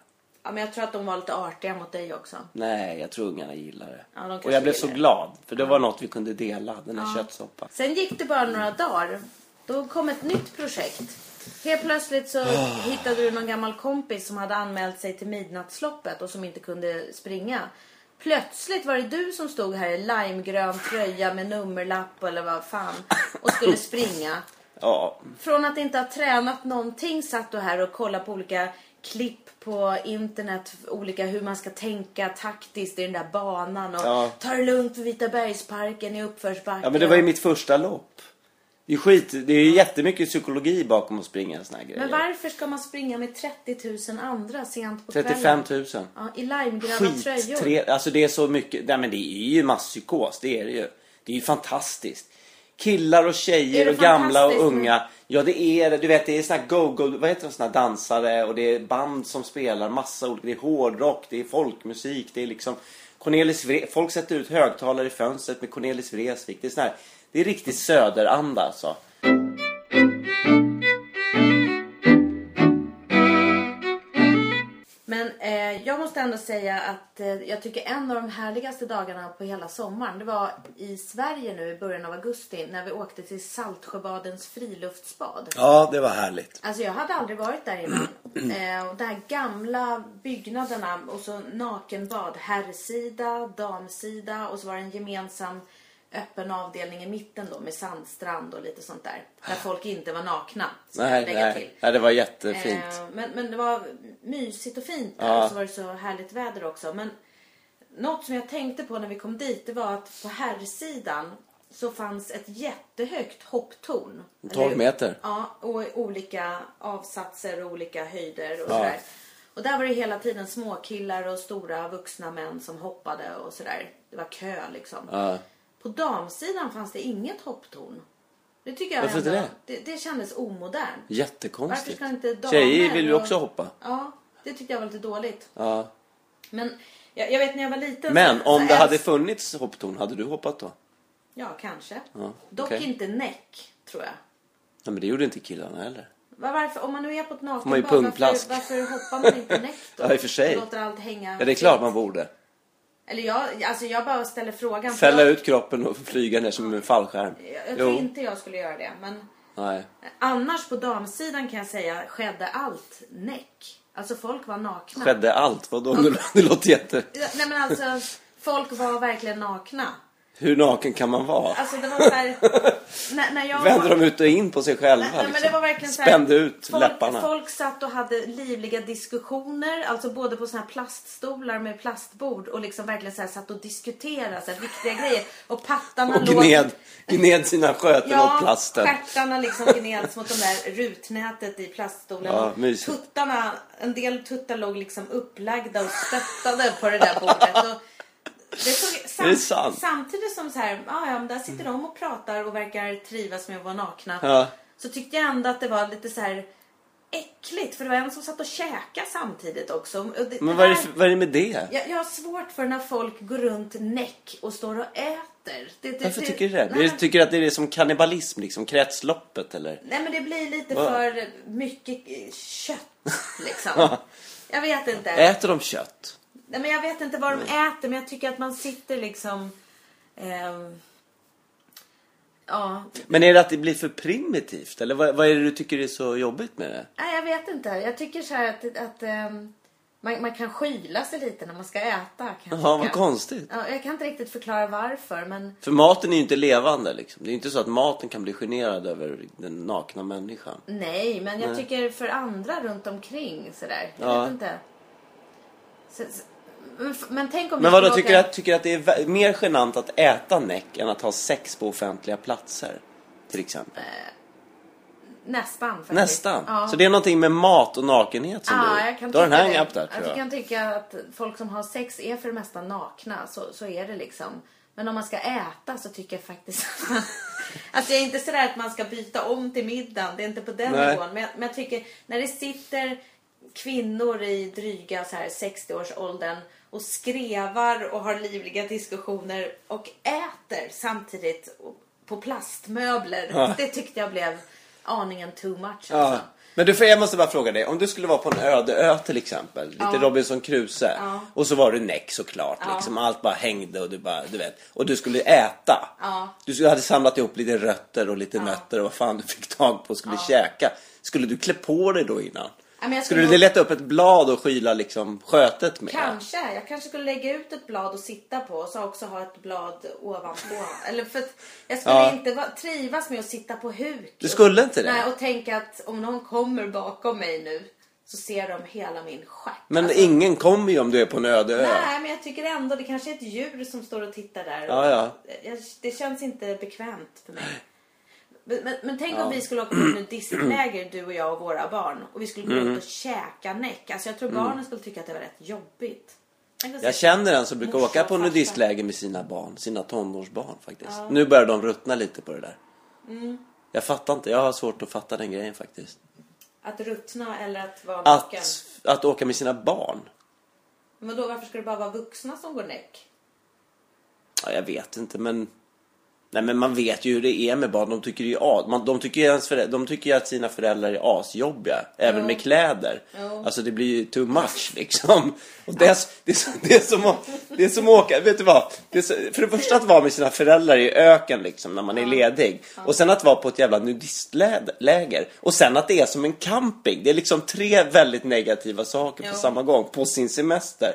[SPEAKER 1] Ja, men jag tror att de var lite artiga mot dig också.
[SPEAKER 2] Nej, jag tror ungarna gillar det.
[SPEAKER 1] Ja, de kanske
[SPEAKER 2] och jag blev så
[SPEAKER 1] gillar det.
[SPEAKER 2] glad. För det var något vi kunde dela, den här köttsoppan.
[SPEAKER 1] Sen gick det bara några dagar. Då kom ett nytt projekt. Helt plötsligt så
[SPEAKER 2] Ah.
[SPEAKER 1] hittade du någon gammal kompis som hade anmält sig till midnattsloppet och som inte kunde springa. Plötsligt var det du som stod här i limegrön tröja med nummerlapp eller vad fan och skulle springa.
[SPEAKER 2] Ja,
[SPEAKER 1] Från att inte ha tränat någonting satt du här och kollade på olika klipp på internet, olika hur man ska tänka taktiskt i den där banan och
[SPEAKER 2] Ja.
[SPEAKER 1] ta det lugnt för Vita bergsparken i uppförsbacken.
[SPEAKER 2] Ja men det var ju mitt första lopp. Det är skit, det är ju jättemycket psykologi bakom att springa en sån här grej.
[SPEAKER 1] Men varför ska man springa med 30 000 andra sent på
[SPEAKER 2] 35
[SPEAKER 1] kvällen?
[SPEAKER 2] 000.
[SPEAKER 1] Ja, I limegröna
[SPEAKER 2] Skit,
[SPEAKER 1] tröjor.
[SPEAKER 2] tre, alltså det är så mycket, nej men det är ju masspsykos, det är det ju. Det är ju fantastiskt. Killar och
[SPEAKER 1] Är
[SPEAKER 2] tjejer
[SPEAKER 1] det
[SPEAKER 2] och gamla och
[SPEAKER 1] fantastiskt, men-
[SPEAKER 2] unga. Ja det är det, du vet det är såna här go-go, vad heter de, såna här dansare och det är band som spelar massa olika, det är hårdrock, det är folkmusik, det är liksom Cornelis Vre- folk sätter ut högtalare i fönstret med Cornelis Vreeswijk. Det är sån här, det är riktigt söderanda alltså.
[SPEAKER 1] Men eh, jag måste ändå säga att eh, jag tycker en av de härligaste dagarna på hela sommaren det var i Sverige nu i början av augusti när vi åkte till Saltsjöbadens friluftsbad.
[SPEAKER 2] Ja, det var härligt.
[SPEAKER 1] Alltså jag hade aldrig varit där innan.
[SPEAKER 2] Mm.
[SPEAKER 1] Eh, och de här gamla byggnaderna och så nakenbad. Herrsida, damsida och så var det en gemensam öppen avdelning i mitten då med sandstrand och lite sånt där. Där folk inte var nakna. Ska jag
[SPEAKER 2] Nej,
[SPEAKER 1] lägga
[SPEAKER 2] nej.
[SPEAKER 1] till.
[SPEAKER 2] nej, det var jättefint.
[SPEAKER 1] Eh, men, men det var mysigt och fint där
[SPEAKER 2] Ja.
[SPEAKER 1] och så var det så härligt väder också. Men något som jag tänkte på när vi kom dit det var att på herrsidan så fanns ett jättehögt hopptorn.
[SPEAKER 2] 12
[SPEAKER 1] Eller-
[SPEAKER 2] meter.
[SPEAKER 1] Ja, och i olika avsatser och olika höjder och
[SPEAKER 2] Ja.
[SPEAKER 1] sådär. Och där var det hela tiden små killar och stora vuxna män som hoppade och sådär. Det var kö liksom.
[SPEAKER 2] Ja.
[SPEAKER 1] På damsidan fanns det inget hopptorn. Det tycker jag
[SPEAKER 2] Varför
[SPEAKER 1] ändå,
[SPEAKER 2] inte
[SPEAKER 1] det? Det, kändes omodernt. Varför
[SPEAKER 2] Jättekonstigt.
[SPEAKER 1] ska inte damer
[SPEAKER 2] Tjejer vill ju
[SPEAKER 1] och-
[SPEAKER 2] också hoppa.
[SPEAKER 1] Ja, det tyckte jag var lite dåligt.
[SPEAKER 2] Ja.
[SPEAKER 1] Men jag, jag vet när jag var liten.
[SPEAKER 2] Men
[SPEAKER 1] så- så
[SPEAKER 2] om det
[SPEAKER 1] älsk-
[SPEAKER 2] hade funnits hopptorn, hade du hoppat då?
[SPEAKER 1] Ja, kanske.
[SPEAKER 2] Ja,
[SPEAKER 1] Dock
[SPEAKER 2] okej.
[SPEAKER 1] inte näck, tror jag.
[SPEAKER 2] Nej, men det gjorde inte killarna heller.
[SPEAKER 1] Var, varför, om man nu är på ett
[SPEAKER 2] man ju
[SPEAKER 1] nakenbad,
[SPEAKER 2] pungplask.
[SPEAKER 1] varför, varför hoppar man inte näck då?
[SPEAKER 2] Ja, i och för sig.
[SPEAKER 1] Och låter allt hänga.
[SPEAKER 2] Ja, det är klart man borde.
[SPEAKER 1] Eller jag, alltså jag bara ställer frågan. för
[SPEAKER 2] Fälla
[SPEAKER 1] jag,
[SPEAKER 2] ut kroppen och flyga ner som en fallskärm.
[SPEAKER 1] Jag, jag tror
[SPEAKER 2] Jo.
[SPEAKER 1] inte jag skulle göra det. Men
[SPEAKER 2] Nej.
[SPEAKER 1] annars på damsidan kan jag säga skedde allt näck. Alltså folk var nakna.
[SPEAKER 2] Skedde allt? Vadå? Det- Det låter jätte...
[SPEAKER 1] Ja, Nej men alltså, folk var verkligen nakna.
[SPEAKER 2] Hur naken kan man vara?
[SPEAKER 1] Alltså det var såhär, när, när jag
[SPEAKER 2] Vände de ut och in på sig själva?
[SPEAKER 1] Nej, men det
[SPEAKER 2] liksom?
[SPEAKER 1] var verkligen så här,
[SPEAKER 2] Spände ut
[SPEAKER 1] folk,
[SPEAKER 2] läpparna.
[SPEAKER 1] Folk satt och hade livliga diskussioner, alltså både på såna här plaststolar med plastbord och liksom verkligen så här satt och diskuterade så här, viktiga grejer. Och pattarna
[SPEAKER 2] Och gned, gned sina sköten åt
[SPEAKER 1] Ja,
[SPEAKER 2] plasten.
[SPEAKER 1] stjärtarna liksom gneds mot de där rutnätet i plaststolen.
[SPEAKER 2] Ja,
[SPEAKER 1] Och
[SPEAKER 2] mysigt.
[SPEAKER 1] tuttarna, en del tuttar låg liksom upplagda och stöttade på det där bordet. Och det såg, sam,
[SPEAKER 2] Det är sant.
[SPEAKER 1] Samtidigt som så här, ah, ja, men där sitter de och pratar och verkar trivas med att vara nakna.
[SPEAKER 2] Ja.
[SPEAKER 1] Så tyckte jag ändå att det var lite så här äckligt för det var en som satt och käkade samtidigt också. Och det,
[SPEAKER 2] Men
[SPEAKER 1] det
[SPEAKER 2] vad är, det
[SPEAKER 1] här-
[SPEAKER 2] för, vad är det med det?
[SPEAKER 1] jag, jag har svårt för när folk går runt näck och står och äter. Det, det,
[SPEAKER 2] Varför tycker du det?
[SPEAKER 1] Nej,
[SPEAKER 2] Du tycker att det är som kannibalism, liksom kretsloppet eller?
[SPEAKER 1] Nej men det blir lite
[SPEAKER 2] Va?
[SPEAKER 1] för mycket eh, kött liksom. jag vet inte.
[SPEAKER 2] Äter de kött?
[SPEAKER 1] Nej, men jag vet inte vad de äter men jag tycker att man sitter liksom... ehm, ja,
[SPEAKER 2] Men är det att det blir för primitivt? Eller vad, vad är det du tycker är så jobbigt med det?
[SPEAKER 1] nej jag vet inte. Jag tycker så här att, att ehm, man, man kan skyla sig lite när man ska äta. Kan jag
[SPEAKER 2] Ja, vad
[SPEAKER 1] tycka.
[SPEAKER 2] konstigt.
[SPEAKER 1] Ja, jag kan inte riktigt förklara varför men
[SPEAKER 2] För maten är ju inte levande liksom. Det är ju inte så att maten kan bli generad över den nakna människan.
[SPEAKER 1] nej. Men jag tycker för andra runt omkring sådär. Jag
[SPEAKER 2] Ja.
[SPEAKER 1] vet inte. Så, så, men, f- men tänk om vi
[SPEAKER 2] Men vadå,
[SPEAKER 1] skulle
[SPEAKER 2] tycker
[SPEAKER 1] åka-
[SPEAKER 2] du att, tycker du att det är vä- mer genant att äta näck än att ha sex på offentliga platser? Till exempel.
[SPEAKER 1] Nästan faktiskt.
[SPEAKER 2] Nästan.
[SPEAKER 1] Ja.
[SPEAKER 2] Så det är någonting med mat och nakenhet som
[SPEAKER 1] Ja,
[SPEAKER 2] du...
[SPEAKER 1] jag kan
[SPEAKER 2] du har en
[SPEAKER 1] tycka
[SPEAKER 2] hang
[SPEAKER 1] det.
[SPEAKER 2] up där tror
[SPEAKER 1] jag
[SPEAKER 2] jag.
[SPEAKER 1] kan tycka att folk som har sex är för det mesta nakna. Så, så är det liksom. Men om man ska äta så tycker jag faktiskt att det är inte sådär att man ska byta om till middagen. Det är inte på den
[SPEAKER 2] Nej.
[SPEAKER 1] nivån. Men jag, men jag tycker när det sitter kvinnor i dryga så här 60-årsåldern och skrevar och har livliga diskussioner och äter samtidigt på plastmöbler.
[SPEAKER 2] Ja.
[SPEAKER 1] Det tyckte jag blev aningen too much. Alltså.
[SPEAKER 2] Ja. Men du, får- jag måste bara fråga dig. Om du skulle vara på en öde ö till exempel. Lite Robinson Crusoe.
[SPEAKER 1] Ja.
[SPEAKER 2] Och så var du näck såklart. Liksom. Allt bara hängde och du bara, du vet. Och du skulle äta.
[SPEAKER 1] Ja.
[SPEAKER 2] Du skulle- hade samlat ihop lite rötter och lite nötter och vad fan du fick tag på och skulle käka. Skulle du klä på dig då innan?
[SPEAKER 1] Ja, men jag
[SPEAKER 2] skulle
[SPEAKER 1] skulle
[SPEAKER 2] du
[SPEAKER 1] nog-
[SPEAKER 2] leta upp ett blad och skyla liksom skötet med?
[SPEAKER 1] Kanske. Jag kanske skulle lägga ut ett blad och sitta på och så också ha ett blad ovanpå. Eller för att jag skulle
[SPEAKER 2] Ja.
[SPEAKER 1] inte va- trivas med att sitta på huk.
[SPEAKER 2] Du skulle inte det?
[SPEAKER 1] Nej, och tänka att om någon kommer bakom mig nu så ser de hela min stjärt.
[SPEAKER 2] Men ingen kommer ju om du är på en öde ö.
[SPEAKER 1] Alltså- Nej, men jag tycker ändå det kanske är ett djur som står och tittar där.
[SPEAKER 2] Ja, ja.
[SPEAKER 1] Jag, det känns inte bekvämt för mig. Men, men, men tänk om vi skulle åka på ett nudistläger, du och jag och våra barn. Och vi skulle gå
[SPEAKER 2] Mm.
[SPEAKER 1] runt och käka näck. Alltså jag tror barnen skulle tycka att det var rätt jobbigt. Tänk att
[SPEAKER 2] Jag
[SPEAKER 1] se-
[SPEAKER 2] känner en som brukar
[SPEAKER 1] Morsa
[SPEAKER 2] åka
[SPEAKER 1] och
[SPEAKER 2] på
[SPEAKER 1] farsa.
[SPEAKER 2] nudistläger med sina barn, sina tonårsbarn faktiskt. Nu börjar de ruttna lite på det där. Jag fattar inte, jag har svårt att fatta den grejen faktiskt.
[SPEAKER 1] Att ruttna eller att vara
[SPEAKER 2] Att,
[SPEAKER 1] naken.
[SPEAKER 2] att åka med sina barn?
[SPEAKER 1] Men då varför ska det bara vara vuxna som går näck?
[SPEAKER 2] Ja, jag vet inte men... Nej men man vet ju hur det är med barn, de tycker ju, a- man, de tycker ju, ens förä- de tycker ju att sina föräldrar är asjobbiga. Även med kläder.
[SPEAKER 1] Jo.
[SPEAKER 2] Alltså det blir ju too much liksom. Och det, är, s- det, är, så- det, är som, att- det är som att åka, vet du vad? Det är så, för det första att vara med sina föräldrar i öken liksom när man är ledig. Och sen att vara på ett jävla nudistläger. Och sen att det är som en camping. Det är liksom tre väldigt negativa saker på
[SPEAKER 1] Jo.
[SPEAKER 2] samma gång på sin semester.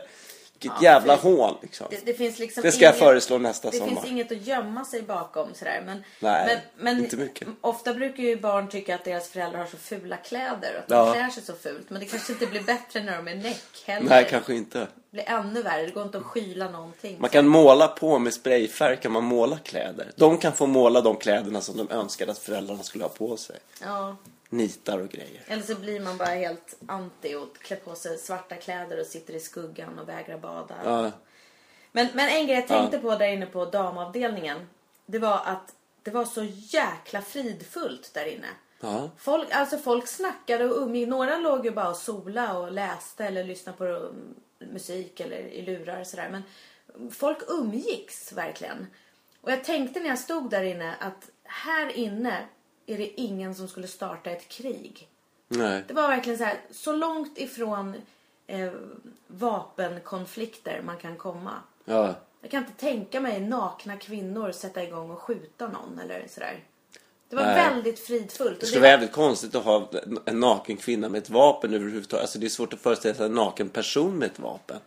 [SPEAKER 2] Vilket jävla
[SPEAKER 1] precis.
[SPEAKER 2] hån liksom.
[SPEAKER 1] Det, det finns liksom
[SPEAKER 2] Det ska jag
[SPEAKER 1] inget-
[SPEAKER 2] föreslå nästa
[SPEAKER 1] Det
[SPEAKER 2] sommar.
[SPEAKER 1] finns inget att gömma sig bakom sådär. Men,
[SPEAKER 2] Nej,
[SPEAKER 1] men, men
[SPEAKER 2] inte mycket.
[SPEAKER 1] ofta brukar ju barn tycka att deras föräldrar har så fula kläder och att de
[SPEAKER 2] Ja.
[SPEAKER 1] klär sig så fult. Men det kanske inte blir bättre när de är näck heller.
[SPEAKER 2] Nej, kanske inte.
[SPEAKER 1] Det blir ännu värre. Det går inte att skyla någonting.
[SPEAKER 2] Man kan måla på med sprayfärg, kan man måla kläder. De kan få måla de kläderna som de önskade att föräldrarna skulle ha på sig.
[SPEAKER 1] Ja.
[SPEAKER 2] Nitar och grejer.
[SPEAKER 1] Eller så blir man bara helt anti och klär på sig svarta kläder och sitter i skuggan och vägrar bada.
[SPEAKER 2] Ja,
[SPEAKER 1] Men, men en grej jag tänkte på där inne på damavdelningen. Det var att det var så jäkla fridfullt där inne.
[SPEAKER 2] Ja.
[SPEAKER 1] Folk, alltså folk snackade och umgick. Några låg ju bara och sola och läste eller lyssnade på mm, musik eller i lurar och sådär. Men folk umgicks verkligen. Och jag tänkte när jag stod där inne att här inne är det ingen som skulle starta ett krig.
[SPEAKER 2] nej.
[SPEAKER 1] Det var verkligen så här, så långt ifrån eh, vapenkonflikter man kan komma.
[SPEAKER 2] Ja.
[SPEAKER 1] Jag kan inte tänka mig nakna kvinnor sätta igång och skjuta någon eller sådär. Det var
[SPEAKER 2] Nej.
[SPEAKER 1] väldigt fridfullt.
[SPEAKER 2] Det
[SPEAKER 1] Och det
[SPEAKER 2] skulle vara
[SPEAKER 1] var,
[SPEAKER 2] jävligt konstigt att ha en naken kvinna med ett vapen överhuvudtaget. Alltså det är svårt att föreställa sig en naken person med ett vapen.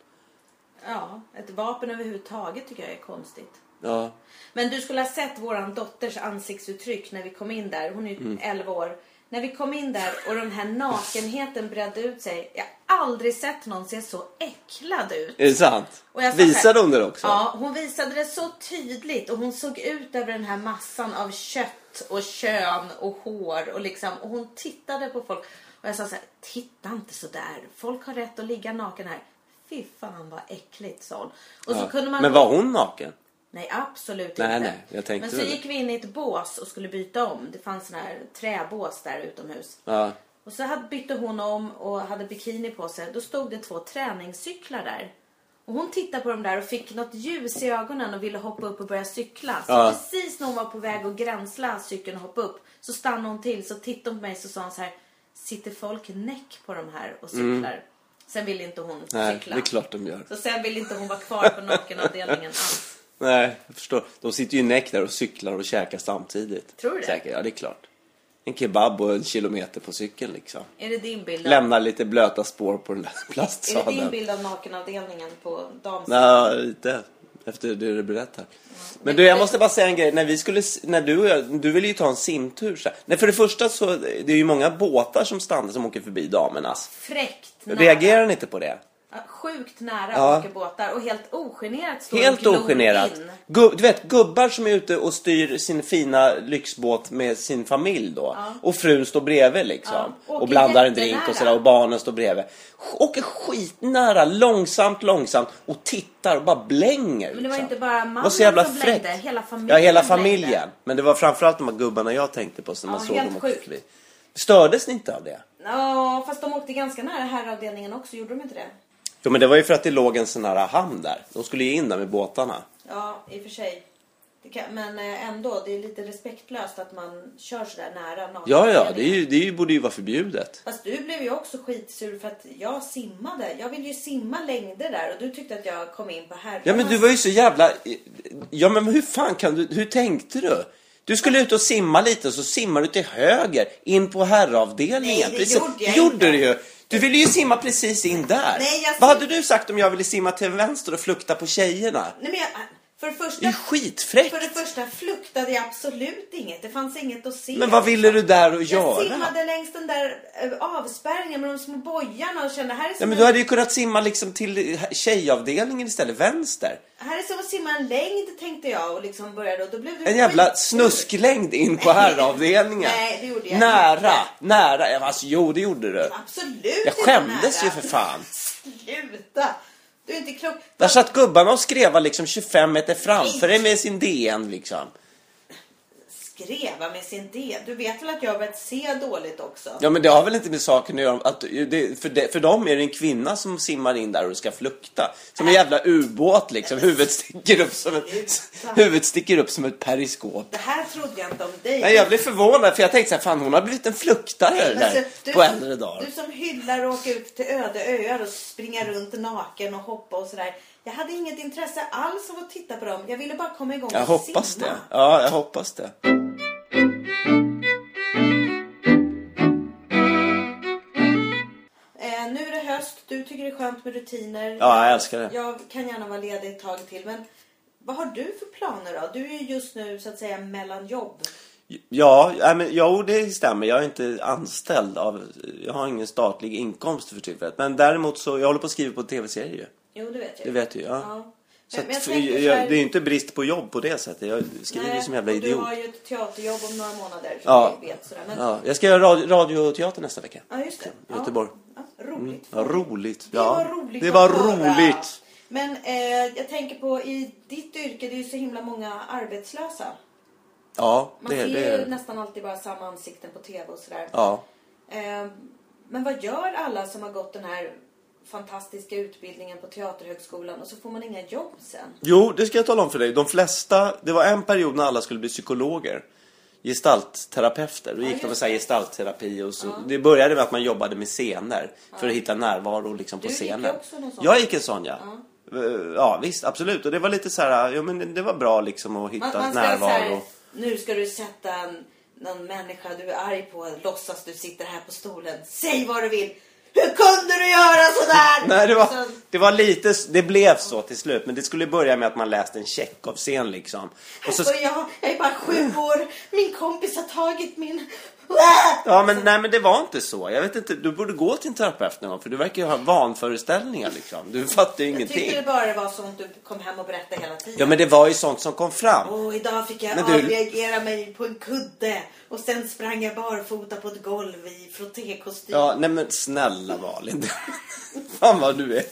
[SPEAKER 1] ja, ett vapen överhuvudtaget tycker jag är konstigt.
[SPEAKER 2] Ja.
[SPEAKER 1] Men du skulle ha sett våran dotters ansiktsuttryck när vi kom in där. Hon är ju 11 år. När vi kom in där och den här nakenheten bredde ut sig. Jag har aldrig sett någon se så äcklad ut.
[SPEAKER 2] Är det sant?
[SPEAKER 1] Och jag sa
[SPEAKER 2] Visade
[SPEAKER 1] så här-
[SPEAKER 2] hon det också?
[SPEAKER 1] Ja, hon visade det så tydligt och hon såg ut över den här massan av kött och kön och hår och liksom och hon tittade på folk och jag sa så här, titta inte så där. Folk har rätt att ligga naken här. Fy fan vad äckligt sa hon. Och så
[SPEAKER 2] Ja.
[SPEAKER 1] kunde man
[SPEAKER 2] Men
[SPEAKER 1] gå-
[SPEAKER 2] var hon naken?
[SPEAKER 1] Nej, absolut
[SPEAKER 2] Nej,
[SPEAKER 1] inte.
[SPEAKER 2] nej, jag tänkte
[SPEAKER 1] Men så
[SPEAKER 2] väl det.
[SPEAKER 1] gick vi in i ett bås och skulle byta om. Det fanns såna här träbås där utomhus.
[SPEAKER 2] Ja.
[SPEAKER 1] Och så hade, bytte hon om och hade bikini på sig. Då stod det två träningscyklar där. Och hon tittade på dem där och fick något ljus i ögonen och ville hoppa upp och börja cykla. Så
[SPEAKER 2] Ja.
[SPEAKER 1] precis när hon var på väg att gränsla cykeln och hoppa upp så stannade hon till. Så tittade hon på mig så sa hon så här. Sitter folk näck på de här och cyklar? Sen ville inte hon
[SPEAKER 2] Mm. Nej, det
[SPEAKER 1] cykla.
[SPEAKER 2] är klart de gör.
[SPEAKER 1] Så sen ville inte hon vara kvar på nakenavdelningen alls.
[SPEAKER 2] Nej, jag förstår. De sitter ju näck där och cyklar och käkar samtidigt.
[SPEAKER 1] Tror du det?
[SPEAKER 2] Säkert, ja det är klart. En kebab och en kilometer på cykeln liksom.
[SPEAKER 1] Är det din bild av,
[SPEAKER 2] Lämnar lite blöta spår på den där
[SPEAKER 1] är det din
[SPEAKER 2] plastsadeln.
[SPEAKER 1] bild av nakenavdelningen på damsidan?
[SPEAKER 2] Nej, lite. Efter det du berättar. Men du, jag måste bara säga en grej. När vi skulle, s- när du och jag, du ville ju ta en simtur så här. Nej, för det första så, det är ju många båtar som stannar som åker förbi damernas.
[SPEAKER 1] Fräckt nära.
[SPEAKER 2] Reagerar ni inte på det?
[SPEAKER 1] Ja, Sjukt nära
[SPEAKER 2] Ja.
[SPEAKER 1] åker båtar och helt ogenerat står
[SPEAKER 2] Helt
[SPEAKER 1] en klon
[SPEAKER 2] ogenerat.
[SPEAKER 1] in.
[SPEAKER 2] Gu- du vet, gubbar som är ute och styr sin fina lyxbåt med sin familj då. Och frun står bredvid liksom.
[SPEAKER 1] Ja,
[SPEAKER 2] Och,
[SPEAKER 1] åker
[SPEAKER 2] blandar en
[SPEAKER 1] jättenära.
[SPEAKER 2] drink och sådär och barnen står bredvid. Sk- Åker skitnära, långsamt, långsamt och tittar och bara blänger.
[SPEAKER 1] Men det var
[SPEAKER 2] liksom.
[SPEAKER 1] inte bara
[SPEAKER 2] Det
[SPEAKER 1] mannen
[SPEAKER 2] var så jävla
[SPEAKER 1] som blängde,
[SPEAKER 2] fräckt.
[SPEAKER 1] hela
[SPEAKER 2] Ja,
[SPEAKER 1] familjen
[SPEAKER 2] hela
[SPEAKER 1] blängde.
[SPEAKER 2] familjen. Men det var framförallt de här gubbarna jag tänkte på som man
[SPEAKER 1] Ja,
[SPEAKER 2] såg
[SPEAKER 1] helt
[SPEAKER 2] dem åka
[SPEAKER 1] sjukt.
[SPEAKER 2] förbi. Stördes ni inte av det?
[SPEAKER 1] Ja, fast de åkte ganska nära herravdelningen också, gjorde de inte det?
[SPEAKER 2] Jo men det var ju för att det låg en sån här hamn där. De skulle ju in där med båtarna.
[SPEAKER 1] Ja, i och för sig. Det kan, men eh, ändå, det är lite respektlöst att man kör sådär nära någon.
[SPEAKER 2] Ja, ja, det, är ju, det är ju, borde ju vara förbjudet.
[SPEAKER 1] Fast du blev ju också skitsur för att jag simmade. Jag ville ju simma längder där och du tyckte att jag kom in på herrarnas.
[SPEAKER 2] Ja men du var ju så jävla... Ja men hur fan kan du... Hur tänkte du? Du skulle ut och simma lite så simmar du till höger in på herravdelningen.
[SPEAKER 1] Nej, det gjorde jag
[SPEAKER 2] gjorde
[SPEAKER 1] inte.
[SPEAKER 2] du ju. Du ville ju simma precis in där.
[SPEAKER 1] Nej, jag
[SPEAKER 2] Vad
[SPEAKER 1] sim-
[SPEAKER 2] hade du sagt om jag ville simma till vänster och flukta på tjejerna?
[SPEAKER 1] Nej, men jag, äh, för det
[SPEAKER 2] Det är
[SPEAKER 1] första...
[SPEAKER 2] ju skitfräckt.
[SPEAKER 1] För det första fluktade jag absolut inget. Det fanns inget att se.
[SPEAKER 2] Men vad ville du där och
[SPEAKER 1] Jag
[SPEAKER 2] göra?
[SPEAKER 1] simmade längs den där eh, avspärrningen med de små bojarna och kände här är
[SPEAKER 2] Nej,
[SPEAKER 1] som,
[SPEAKER 2] men du
[SPEAKER 1] en,
[SPEAKER 2] hade ju kunnat simma liksom till tjejavdelningen istället, vänster.
[SPEAKER 1] här är som att simma en längd tänkte jag och liksom började och då blev du
[SPEAKER 2] En jävla
[SPEAKER 1] skitsur.
[SPEAKER 2] snusklängd in på herravdelningen.
[SPEAKER 1] Nej, det gjorde jag
[SPEAKER 2] Nära,
[SPEAKER 1] inte.
[SPEAKER 2] nära. Ja, Alltså, jo, det gjorde du.
[SPEAKER 1] Absolut
[SPEAKER 2] Jag
[SPEAKER 1] inte
[SPEAKER 2] skämdes
[SPEAKER 1] nära.
[SPEAKER 2] ju för fan.
[SPEAKER 1] Sluta! Du är inte klok.
[SPEAKER 2] Där satt gubbarna och skrev liksom 25 meter framför dig med sin DN liksom.
[SPEAKER 1] Skreva med sin D. Du vet väl att jag har börjat se dåligt också?
[SPEAKER 2] Ja, men det har väl inte med saken att göra. Att det, för, det, för dem är det en kvinna som simmar in där och ska flukta. Som en jävla ubåt liksom. Huvudet sticker upp som ett, huvudet sticker upp som ett periskop.
[SPEAKER 1] Det här trodde jag inte om dig.
[SPEAKER 2] Nej, jag blev förvånad för jag tänkte så här, fan hon har blivit en fluktare där
[SPEAKER 1] Alltså, du
[SPEAKER 2] på
[SPEAKER 1] som-
[SPEAKER 2] äldre dagar.
[SPEAKER 1] Du som hyllar att åka ut till öde öar och springa runt naken och hoppa och sådär. Jag hade inget intresse alls av att titta på dem. Jag ville bara komma igång
[SPEAKER 2] Jag
[SPEAKER 1] och
[SPEAKER 2] hoppas
[SPEAKER 1] simma.
[SPEAKER 2] det. Ja, jag hoppas det.
[SPEAKER 1] Eh, nu är det höst. Du tycker det är skönt med rutiner.
[SPEAKER 2] Ja, jag älskar det.
[SPEAKER 1] Jag kan gärna vara ledig ett tag till. Men vad har du för planer då? Du är ju just nu så att säga mellan jobb.
[SPEAKER 2] Ja, nej, men, jo det stämmer. Jag är inte anställd av, jag har ingen statlig inkomst för tillfället. Men däremot så, jag håller på att skriva på tv-serier ju.
[SPEAKER 1] Jo, det vet jag.
[SPEAKER 2] Det vet du ju, ja.
[SPEAKER 1] Men,
[SPEAKER 2] Så att,
[SPEAKER 1] men jag
[SPEAKER 2] för,
[SPEAKER 1] tänker så
[SPEAKER 2] jag,
[SPEAKER 1] här-
[SPEAKER 2] det är ju inte brist på jobb på det sättet. Jag skriver ju
[SPEAKER 1] Nej,
[SPEAKER 2] som jävla
[SPEAKER 1] och
[SPEAKER 2] idiot.
[SPEAKER 1] Du har ju ett teaterjobb om några månader. Så
[SPEAKER 2] Ja.
[SPEAKER 1] ja. Vet, sådär. Men, ja.
[SPEAKER 2] Ja, jag ska göra radio, radioteater nästa vecka.
[SPEAKER 1] just det.
[SPEAKER 2] I Göteborg. Mm.
[SPEAKER 1] Ja. Ja, roligt.
[SPEAKER 2] Ja, roligt.
[SPEAKER 1] Det
[SPEAKER 2] ja.
[SPEAKER 1] var roligt
[SPEAKER 2] Det
[SPEAKER 1] att
[SPEAKER 2] var
[SPEAKER 1] höra.
[SPEAKER 2] roligt.
[SPEAKER 1] Men eh, jag tänker på i ditt yrke, det är ju så himla många arbetslösa.
[SPEAKER 2] Ja,
[SPEAKER 1] Man
[SPEAKER 2] det,
[SPEAKER 1] ser
[SPEAKER 2] det
[SPEAKER 1] ju
[SPEAKER 2] är
[SPEAKER 1] nästan alltid bara samma ansikten på tv och sådär.
[SPEAKER 2] Ja.
[SPEAKER 1] Eh, men vad gör alla som har gått den här fantastiska utbildningen på Teaterhögskolan och så får man inga jobb sen?
[SPEAKER 2] Jo, det ska jag tala om för dig. De flesta, det var en period när alla skulle bli psykologer. Gestaltterapeuter. Då gick de med
[SPEAKER 1] just
[SPEAKER 2] så här gestaltterapi och så. Det började med att man jobbade med scener. För att hitta närvaro liksom på
[SPEAKER 1] Du gick ju
[SPEAKER 2] scenen.
[SPEAKER 1] också någon sån.
[SPEAKER 2] Jag gick en sån ja. Eh, Ja visst, absolut. Och det var lite så här, ja men det- det var bra liksom att hitta
[SPEAKER 1] Man, man ska
[SPEAKER 2] närvaro.
[SPEAKER 1] så här, nu ska du sätta en, någon människa du är arg på, låtsas du sitter här på stolen, säg vad du vill. Hur kunde du göra sådär?
[SPEAKER 2] Nej, det var,
[SPEAKER 1] Så-
[SPEAKER 2] det var lite, det blev så till slut. Men det skulle börja med att man läste en Tjechov-scen liksom. Och så,
[SPEAKER 1] Och jag, jag är bara sju år. Min kompis har tagit min...
[SPEAKER 2] ja men nej men det var inte så. Jag vet inte, du borde gå till en terapeut någon gång. För du verkar ju ha vanföreställningar liksom. Du fattar ju
[SPEAKER 1] Jag tyckte det
[SPEAKER 2] ingenting.
[SPEAKER 1] bara var sånt du kom hem och berättade hela tiden.
[SPEAKER 2] Ja men det var ju sånt som kom fram.
[SPEAKER 1] Och idag fick jag
[SPEAKER 2] Men du-
[SPEAKER 1] avreagera mig på en kudde och sen sprang jag barfota på ett golv i frottékostym.
[SPEAKER 2] Ja, nej men snälla Malin. Fan vad du är.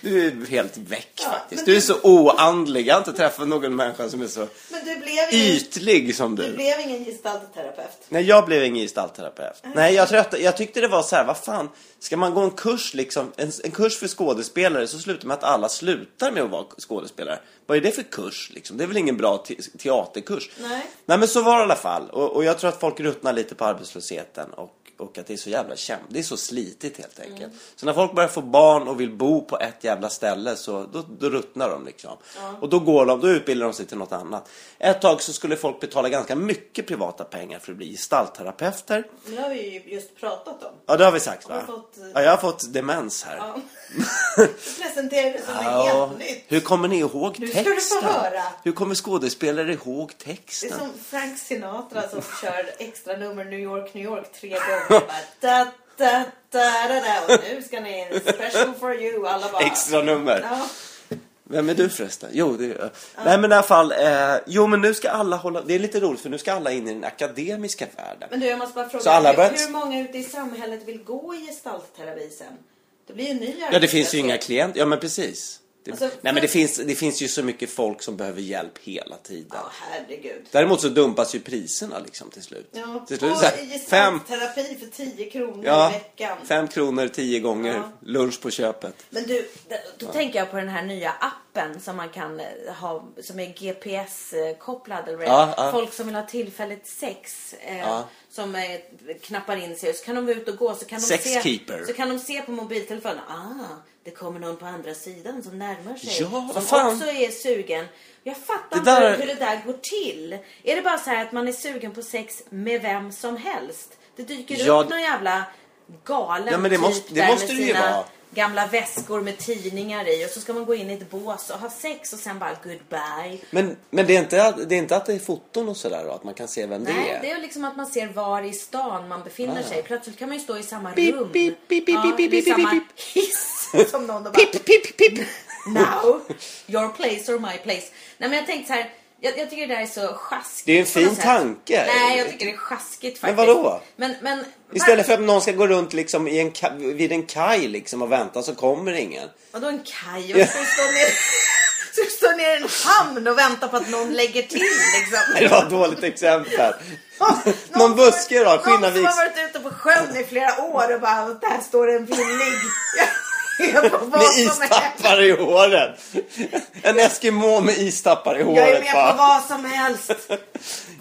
[SPEAKER 2] Du är helt väck
[SPEAKER 1] Ja,
[SPEAKER 2] faktiskt.
[SPEAKER 1] men
[SPEAKER 2] Du är
[SPEAKER 1] du-
[SPEAKER 2] så oandlig. Jag har inte träffat någon människa som är så
[SPEAKER 1] Men du blev ingen,
[SPEAKER 2] ytlig som
[SPEAKER 1] du
[SPEAKER 2] du.
[SPEAKER 1] blev ingen gestaltterapeut.
[SPEAKER 2] Nej, jag blev ingen gestaltterapeut. Nej, jag, trött, jag tyckte det var så här, vad fan, ska man gå en kurs liksom, en, en kurs för skådespelare så slutar med att alla slutar med att vara skådespelare. Vad är det för kurs liksom? Det är väl ingen bra te teaterkurs?
[SPEAKER 1] Nej.
[SPEAKER 2] Nej, men så var det i alla fall. Och, och jag tror att folk ruttnar lite på arbetslösheten och, och att det är så jävla kämpigt. Det är så slitigt helt enkelt.
[SPEAKER 1] Mm.
[SPEAKER 2] Så när folk börjar få barn och vill bo på ett jävla ställe så då, då ruttnar de liksom. Och då går de, då utbildar de sig till något annat. Ett tag så skulle folk betala ganska mycket privata pengar för att bli gestaltterapeuter.
[SPEAKER 1] Men det har vi ju just pratat om.
[SPEAKER 2] Ja, det har vi sagt va?
[SPEAKER 1] Har vi fått, eh,
[SPEAKER 2] Ja, jag har fått demens här.
[SPEAKER 1] Ja. Du presenterade det som
[SPEAKER 2] Ja,
[SPEAKER 1] något helt nytt.
[SPEAKER 2] Hur kommer ni ihåg
[SPEAKER 1] Nu ska
[SPEAKER 2] texten?
[SPEAKER 1] du få höra.
[SPEAKER 2] Hur kommer skådespelare ihåg
[SPEAKER 1] Det
[SPEAKER 2] texten?
[SPEAKER 1] är som Frank Sinatra som kör extra nummer New York, New York tre gånger. Bara, da, da, da, da, da. Och nu ska ni special for you. Alla bara...
[SPEAKER 2] Extra nummer.
[SPEAKER 1] Ja.
[SPEAKER 2] Vem är du förresten? Jo, det är jag. Nej, men i alla fall. Eh, jo, men nu ska alla hålla... Det är lite roligt för nu ska alla in i den akademiska världen.
[SPEAKER 1] Men du, jag måste bara fråga.
[SPEAKER 2] Så alla
[SPEAKER 1] hur-
[SPEAKER 2] börjat-
[SPEAKER 1] Hur många ute i samhället vill gå i gestaltterapi sen? Det blir ju en ny
[SPEAKER 2] Ja, det finns ju
[SPEAKER 1] arbetslöshet.
[SPEAKER 2] inga klienter. Ja, men precis. Det,
[SPEAKER 1] Alltså,
[SPEAKER 2] nej men
[SPEAKER 1] för-
[SPEAKER 2] det finns, det finns ju så mycket folk som behöver hjälp hela tiden.
[SPEAKER 1] Ja, herregud.
[SPEAKER 2] Däremot så dumpas ju priserna liksom till slut.
[SPEAKER 1] Ja,
[SPEAKER 2] till slut
[SPEAKER 1] på
[SPEAKER 2] så här, fem,
[SPEAKER 1] gestaltterapi för 10 kronor i
[SPEAKER 2] ja,
[SPEAKER 1] veckan.
[SPEAKER 2] fem kronor tio gånger,
[SPEAKER 1] Ja.
[SPEAKER 2] lunch på köpet.
[SPEAKER 1] Men du, d- då tänker jag på den här nya appen som man kan eh, ha, som är GPS-kopplad eller vad det är.
[SPEAKER 2] Ja, ja.
[SPEAKER 1] Folk som vill ha tillfälligt sex. Eh,
[SPEAKER 2] Ja.
[SPEAKER 1] Som eh, knappar in sig och så kan de vara ute och gå. Så kan de
[SPEAKER 2] Sexkeeper.
[SPEAKER 1] Se, så kan de se på mobiltelefonen. Ah, det kommer någon på andra sidan som närmar sig.
[SPEAKER 2] Ja,
[SPEAKER 1] som
[SPEAKER 2] vad fan.
[SPEAKER 1] också är sugen. Jag fattar
[SPEAKER 2] Det där-
[SPEAKER 1] inte hur det där går till. Är det bara så här att man är sugen på sex med vem som helst? Det dyker
[SPEAKER 2] Ja,
[SPEAKER 1] upp någon jävla galen
[SPEAKER 2] Ja, men det
[SPEAKER 1] typ
[SPEAKER 2] måste- det
[SPEAKER 1] där
[SPEAKER 2] måste
[SPEAKER 1] med
[SPEAKER 2] det ju
[SPEAKER 1] sina
[SPEAKER 2] vara.
[SPEAKER 1] gamla väskor med tidningar i och så ska man gå in i ett bås och ha sex och sen bara goodbye.
[SPEAKER 2] Men, men det, är inte, att- det är inte att det är foton och sådär då, att man kan se vem
[SPEAKER 1] Nej,
[SPEAKER 2] det är? Ah.
[SPEAKER 1] det är liksom att man ser var i stan man befinner sig. Plötsligt kan man ju stå i samma
[SPEAKER 2] Pip,
[SPEAKER 1] rum.
[SPEAKER 2] pip, pip, pip,
[SPEAKER 1] ja,
[SPEAKER 2] pip, pip,
[SPEAKER 1] det är
[SPEAKER 2] pip,
[SPEAKER 1] samma
[SPEAKER 2] pip.
[SPEAKER 1] hiss som någon och bara
[SPEAKER 2] Pip, pip, pip!
[SPEAKER 1] now, your place or my place. Nej men jag tänkte så här, jag, jag tycker det där är så sjaskigt.
[SPEAKER 2] Det är ju en
[SPEAKER 1] på
[SPEAKER 2] fin
[SPEAKER 1] något sätt.
[SPEAKER 2] tanke.
[SPEAKER 1] Nej, jag tycker det är sjaskigt
[SPEAKER 2] Men
[SPEAKER 1] faktiskt.
[SPEAKER 2] vadå?
[SPEAKER 1] Men, men,
[SPEAKER 2] Istället för att någon ska gå runt liksom i en, ka- vid en kaj liksom och vänta så kommer ingen.
[SPEAKER 1] Vadå en kaj? Och ska du stå ner, ska du stå ner i en hamn och vänta på att någon lägger till liksom?
[SPEAKER 2] Det var ett dåligt exempel.
[SPEAKER 1] Någon
[SPEAKER 2] Någon
[SPEAKER 1] som-
[SPEAKER 2] buske då,
[SPEAKER 1] Någon som
[SPEAKER 2] Skinnarviks.
[SPEAKER 1] har varit ute på sjön i flera år och bara, "Och där står en villig. Jag är på vad
[SPEAKER 2] Med
[SPEAKER 1] som helst.
[SPEAKER 2] istappar i håret. En eskimo med istappar i
[SPEAKER 1] Jag är
[SPEAKER 2] håret
[SPEAKER 1] med på
[SPEAKER 2] bara.
[SPEAKER 1] vad som helst.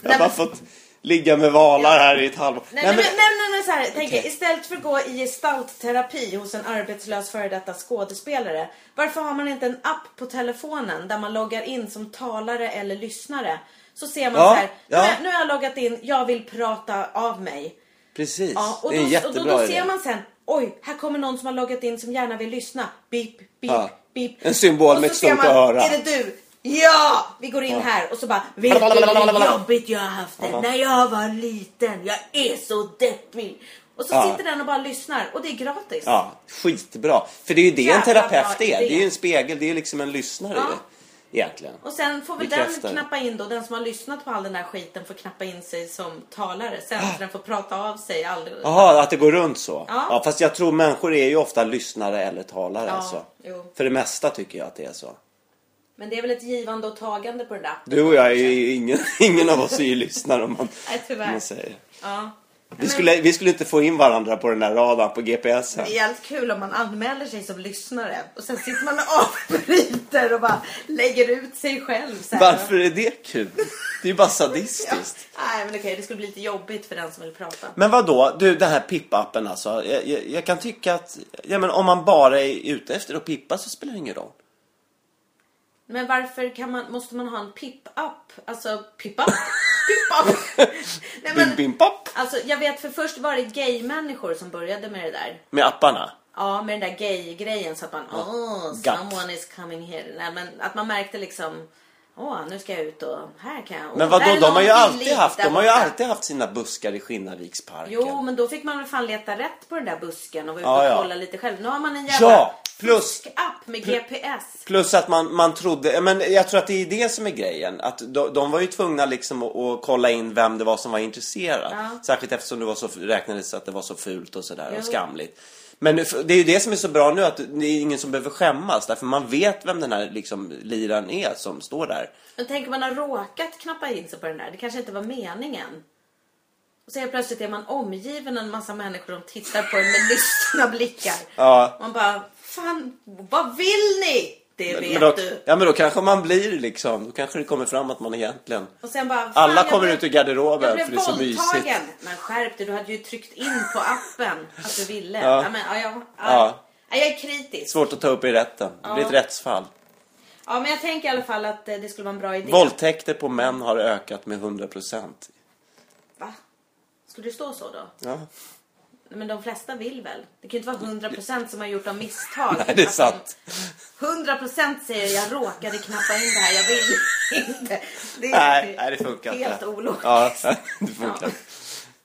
[SPEAKER 2] Jag har bara fått ligga med valar här i ett halvår.
[SPEAKER 1] Nej, men, nej, nej, nej, så här, tänk er, istället för att gå i gestaltterapi hos en arbetslös före detta skådespelare. Varför har man inte en app på telefonen där man loggar in som talare eller lyssnare? Så ser man
[SPEAKER 2] Ja,
[SPEAKER 1] så här, nu, har
[SPEAKER 2] ja.
[SPEAKER 1] jag- nu har jag loggat in, jag vill prata av mig.
[SPEAKER 2] Precis,
[SPEAKER 1] Ja, och
[SPEAKER 2] det
[SPEAKER 1] då,
[SPEAKER 2] är en
[SPEAKER 1] och
[SPEAKER 2] jättebra
[SPEAKER 1] då, då
[SPEAKER 2] idé.
[SPEAKER 1] ser man sen, oj, här kommer någon som har loggat in som gärna vill lyssna. Bip, bip,
[SPEAKER 2] Ja.
[SPEAKER 1] bip.
[SPEAKER 2] En symbol
[SPEAKER 1] Och så
[SPEAKER 2] med ett
[SPEAKER 1] ser
[SPEAKER 2] stort
[SPEAKER 1] man,
[SPEAKER 2] öra.
[SPEAKER 1] Är det du? Ja! Vi går in här och så bara, vet du hur jobbigt jag har haft det när jag var liten? Jag är så deppig. Och så
[SPEAKER 2] Ja.
[SPEAKER 1] sitter den och bara lyssnar och det är gratis.
[SPEAKER 2] Ja, skitbra. För det är ju det
[SPEAKER 1] Jävla
[SPEAKER 2] en terapeut
[SPEAKER 1] bra
[SPEAKER 2] är.
[SPEAKER 1] idé.
[SPEAKER 2] Det är ju en spegel, det är ju liksom en lyssnare
[SPEAKER 1] Ja.
[SPEAKER 2] ju, egentligen.
[SPEAKER 1] Och sen får väl
[SPEAKER 2] Bekräftar.
[SPEAKER 1] den knappa in då, den som har lyssnat på all den här skiten får knappa in sig som talare sen
[SPEAKER 2] Ah.
[SPEAKER 1] så den får prata av sig. All...
[SPEAKER 2] Jaha, att det går runt så?
[SPEAKER 1] Ja.
[SPEAKER 2] Fast jag tror människor är ju ofta lyssnare eller talare.
[SPEAKER 1] Ja,
[SPEAKER 2] alltså.
[SPEAKER 1] jo.
[SPEAKER 2] För det mesta tycker jag att det är så.
[SPEAKER 1] Men det är väl ett givande och tagande på den där appen.
[SPEAKER 2] Du och jag är ju ingen, ingen av oss är ju lyssnare om man,
[SPEAKER 1] Nej, tyvärr.
[SPEAKER 2] om man säger.
[SPEAKER 1] Ja.
[SPEAKER 2] Vi skulle, vi skulle inte få in varandra på den här radarn på GPSen.
[SPEAKER 1] Det är jävligt kul om man anmäler sig som lyssnare och sen sitter man och avbryter och bara lägger ut sig själv. Så här.
[SPEAKER 2] Varför är det kul? Det är ju bara sadistiskt.
[SPEAKER 1] Nej men okej, det skulle bli lite jobbigt för den som vill prata.
[SPEAKER 2] Men vad då? Du, den här pippappen alltså. Jag, jag, jag kan tycka att ja, men om man bara är ute efter att pippa så spelar det ingen roll.
[SPEAKER 1] Men varför kan man, måste man ha en pip-up? Alltså pip-up? Pip-up? Nej,
[SPEAKER 2] Bim,
[SPEAKER 1] men,
[SPEAKER 2] bim, pop!
[SPEAKER 1] alltså, jag vet för först var det gay-människor som började med det där.
[SPEAKER 2] Med apparna.
[SPEAKER 1] Ja, med den där gay-grejen så att man, oh,
[SPEAKER 2] Gatt.
[SPEAKER 1] someone is coming here. Nej, men att man märkte liksom, åh, nu ska jag ut och här kan jag. åh,
[SPEAKER 2] Men
[SPEAKER 1] där
[SPEAKER 2] vadå,
[SPEAKER 1] är
[SPEAKER 2] de har
[SPEAKER 1] någon
[SPEAKER 2] ju alltid
[SPEAKER 1] billig
[SPEAKER 2] haft,
[SPEAKER 1] där
[SPEAKER 2] de har ju
[SPEAKER 1] borta.
[SPEAKER 2] alltid haft sina buskar i Skinnarviksparken.
[SPEAKER 1] Jo, men då fick man väl fan leta rätt på den där busken och vara ute
[SPEAKER 2] Ja,
[SPEAKER 1] och
[SPEAKER 2] ja.
[SPEAKER 1] kolla lite själv. Nu har man en jävla
[SPEAKER 2] Ja, plus,
[SPEAKER 1] app med GPS.
[SPEAKER 2] plus att man, man trodde, men jag tror att det är det som är grejen. Att de, de var ju tvungna liksom att, att kolla in vem det var som var intresserad.
[SPEAKER 1] Ja.
[SPEAKER 2] Särskilt eftersom det var så, räknades att det var så fult och sådär
[SPEAKER 1] Jo.
[SPEAKER 2] och skamligt. Men nu- det är ju det som är så bra nu att det är ingen som behöver skämmas därför man vet vem den här liksom liran är som står där.
[SPEAKER 1] Men tänk om man har råkat knappa in sig på den där. Det kanske inte var meningen. Och så helt plötsligt är man omgiven av en massa människor som tittar på en med lystna blickar.
[SPEAKER 2] Ja.
[SPEAKER 1] Man bara, fan, vad vill ni? Det vet
[SPEAKER 2] Men då,
[SPEAKER 1] du.
[SPEAKER 2] ja men då kanske man blir liksom, då kanske det kommer fram att man egentligen
[SPEAKER 1] Och sen bara, fan,
[SPEAKER 2] Alla
[SPEAKER 1] jag
[SPEAKER 2] kommer
[SPEAKER 1] blev-
[SPEAKER 2] ut ur garderoben
[SPEAKER 1] jag blev
[SPEAKER 2] för det är så
[SPEAKER 1] våldtagen.
[SPEAKER 2] mysigt.
[SPEAKER 1] Men skärp dig, du hade ju tryckt in på appen att du ville.
[SPEAKER 2] Ja.
[SPEAKER 1] Ja. men, ja, ja, ja.
[SPEAKER 2] Ja.
[SPEAKER 1] Ja, jag är kritisk.
[SPEAKER 2] svårt att ta upp i rätten. Det blir
[SPEAKER 1] Ja.
[SPEAKER 2] ett rättsfall.
[SPEAKER 1] Ja, men jag tänker i alla fall att eh, det skulle vara en bra idé.
[SPEAKER 2] Våldtäkter på män har ökat med 100%.
[SPEAKER 1] Va? Skulle det stå så då?
[SPEAKER 2] Ja.
[SPEAKER 1] Nej, men de flesta vill väl? Det kan ju inte vara 100% som har gjort av misstag.
[SPEAKER 2] Nej, det är
[SPEAKER 1] Att
[SPEAKER 2] sant.
[SPEAKER 1] de- 100% säger jag råkade knappa in det här, jag vill inte. Det är
[SPEAKER 2] Nej, nej, det funkar
[SPEAKER 1] helt
[SPEAKER 2] inte.
[SPEAKER 1] ologiskt.
[SPEAKER 2] Ja, det funkar
[SPEAKER 1] Ja.
[SPEAKER 2] inte.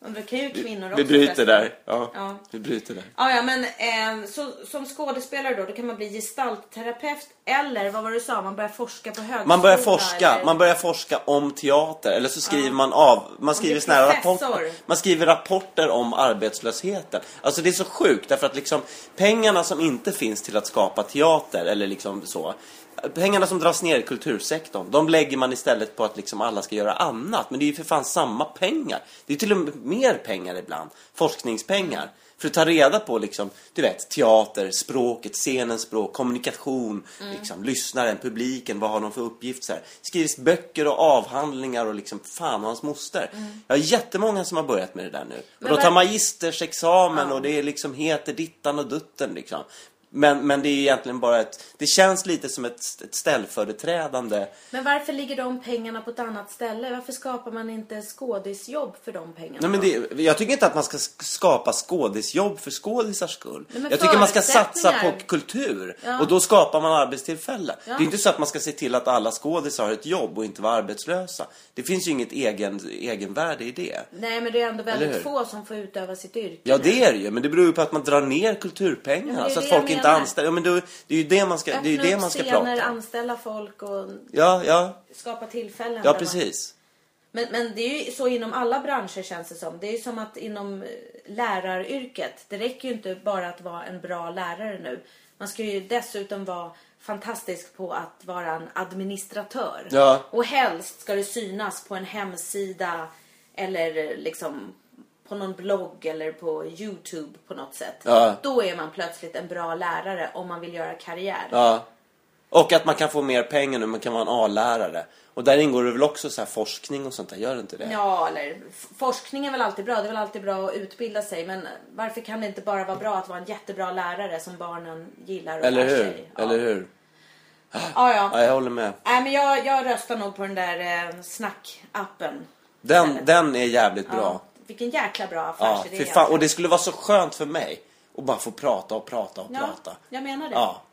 [SPEAKER 1] Okej, Men det kan ju kvinnor också.
[SPEAKER 2] Vi bryter
[SPEAKER 1] förresten.
[SPEAKER 2] där. Ja.
[SPEAKER 1] Ja.
[SPEAKER 2] Vi bryter där.
[SPEAKER 1] Ja, ja men eh, så, som skådespelare då, då kan man bli gestaltterapeut eller vad var det du sa, man börjar forska på högskolan.
[SPEAKER 2] Man börjar forska,
[SPEAKER 1] eller-
[SPEAKER 2] man börjar forska om teater eller så skriver man av, man skriver
[SPEAKER 1] blir
[SPEAKER 2] såna här
[SPEAKER 1] professor.
[SPEAKER 2] rapporter, man skriver rapporter om arbetslösheten. Alltså det är så sjukt därför att liksom pengarna som inte finns till att skapa teater eller liksom så, pengarna som dras ner i kultursektorn, de lägger man istället på att liksom alla ska göra annat. Men det är ju för fan samma pengar. Det är till och med mer pengar ibland, forskningspengar. För att ta reda på liksom, du vet, teater, språket, scenens språk, kommunikation,
[SPEAKER 1] Mm.
[SPEAKER 2] liksom, lyssnaren, publiken, vad har de för uppgift? Så här. Skrivs böcker och avhandlingar och liksom, fan och hans moster. Jag har jättemånga som har börjat med det där nu.
[SPEAKER 1] Mm. Men
[SPEAKER 2] och de tar
[SPEAKER 1] var-
[SPEAKER 2] magistersexamen
[SPEAKER 1] Ja.
[SPEAKER 2] och det är liksom heter dittan och dutten liksom. Men, men det är egentligen bara ett, det känns lite som ett, ett ställföreträdande
[SPEAKER 1] Men varför ligger de pengarna på ett annat ställe? Varför skapar man inte skådisjobb för de pengarna?
[SPEAKER 2] Nej, men det, jag tycker inte att man ska sk- skapa skådisjobb för skådisars skull.
[SPEAKER 1] Nej, men
[SPEAKER 2] jag tycker man ska satsa på
[SPEAKER 1] förutsättningar.
[SPEAKER 2] kultur
[SPEAKER 1] Ja.
[SPEAKER 2] och då skapar man arbetstillfällen.
[SPEAKER 1] Ja.
[SPEAKER 2] Det är inte så att man ska se till att alla skådisar har ett jobb och inte vara arbetslösa. Det finns ju inget egen, egenvärde i det.
[SPEAKER 1] Nej, men det är ändå
[SPEAKER 2] Eller hur?
[SPEAKER 1] väldigt få som får utöva sitt yrke.
[SPEAKER 2] Ja, det är det ju, men det beror ju på att man drar ner
[SPEAKER 1] Ja,
[SPEAKER 2] kulturpengarna
[SPEAKER 1] det är
[SPEAKER 2] så att
[SPEAKER 1] det jag
[SPEAKER 2] folk inte
[SPEAKER 1] menar.
[SPEAKER 2] anställer. Ja, men då, det är ju det man ska, det är ju
[SPEAKER 1] Öppna
[SPEAKER 2] det
[SPEAKER 1] upp
[SPEAKER 2] man ska
[SPEAKER 1] scener,
[SPEAKER 2] prata om.
[SPEAKER 1] anställa folk och
[SPEAKER 2] Ja, ja,
[SPEAKER 1] skapa tillfällen.
[SPEAKER 2] ja
[SPEAKER 1] där man-
[SPEAKER 2] precis.
[SPEAKER 1] Men, men det är ju så inom alla branscher känns det som. Det är ju som att inom eh, läraryrket. Det räcker ju inte bara att vara en bra lärare nu. Man ska ju dessutom vara fantastisk på att vara en administratör.
[SPEAKER 2] Ja.
[SPEAKER 1] Och helst ska det synas på en hemsida eller liksom på någon blogg eller på Youtube på något sätt.
[SPEAKER 2] Ja.
[SPEAKER 1] Då är man plötsligt en bra lärare om man vill göra karriär.
[SPEAKER 2] Ja. Och att man kan få mer pengar nu, man kan vara en A-lärare. Och där ingår det väl också så här forskning och sånt där, gör det inte det?
[SPEAKER 1] Ja, eller f- forskning är väl alltid bra. Det är väl alltid bra att utbilda sig. Men varför kan det inte bara vara bra att vara en jättebra lärare som barnen gillar och
[SPEAKER 2] Eller
[SPEAKER 1] lär
[SPEAKER 2] hur?
[SPEAKER 1] sig? Ja.
[SPEAKER 2] Eller hur?
[SPEAKER 1] Ja,
[SPEAKER 2] Ja,
[SPEAKER 1] ja.
[SPEAKER 2] jag håller med.
[SPEAKER 1] Nej, men jag, jag röstar nog på den där eh, snackappen.
[SPEAKER 2] Den,
[SPEAKER 1] istället.
[SPEAKER 2] den är jävligt
[SPEAKER 1] Ja,
[SPEAKER 2] bra.
[SPEAKER 1] vilken jäkla bra
[SPEAKER 2] Ja,
[SPEAKER 1] affärsidé.
[SPEAKER 2] fy fan. Och det skulle vara så skönt för mig att bara få prata och prata och
[SPEAKER 1] ja,
[SPEAKER 2] prata.
[SPEAKER 1] jag menar det.
[SPEAKER 2] Ja,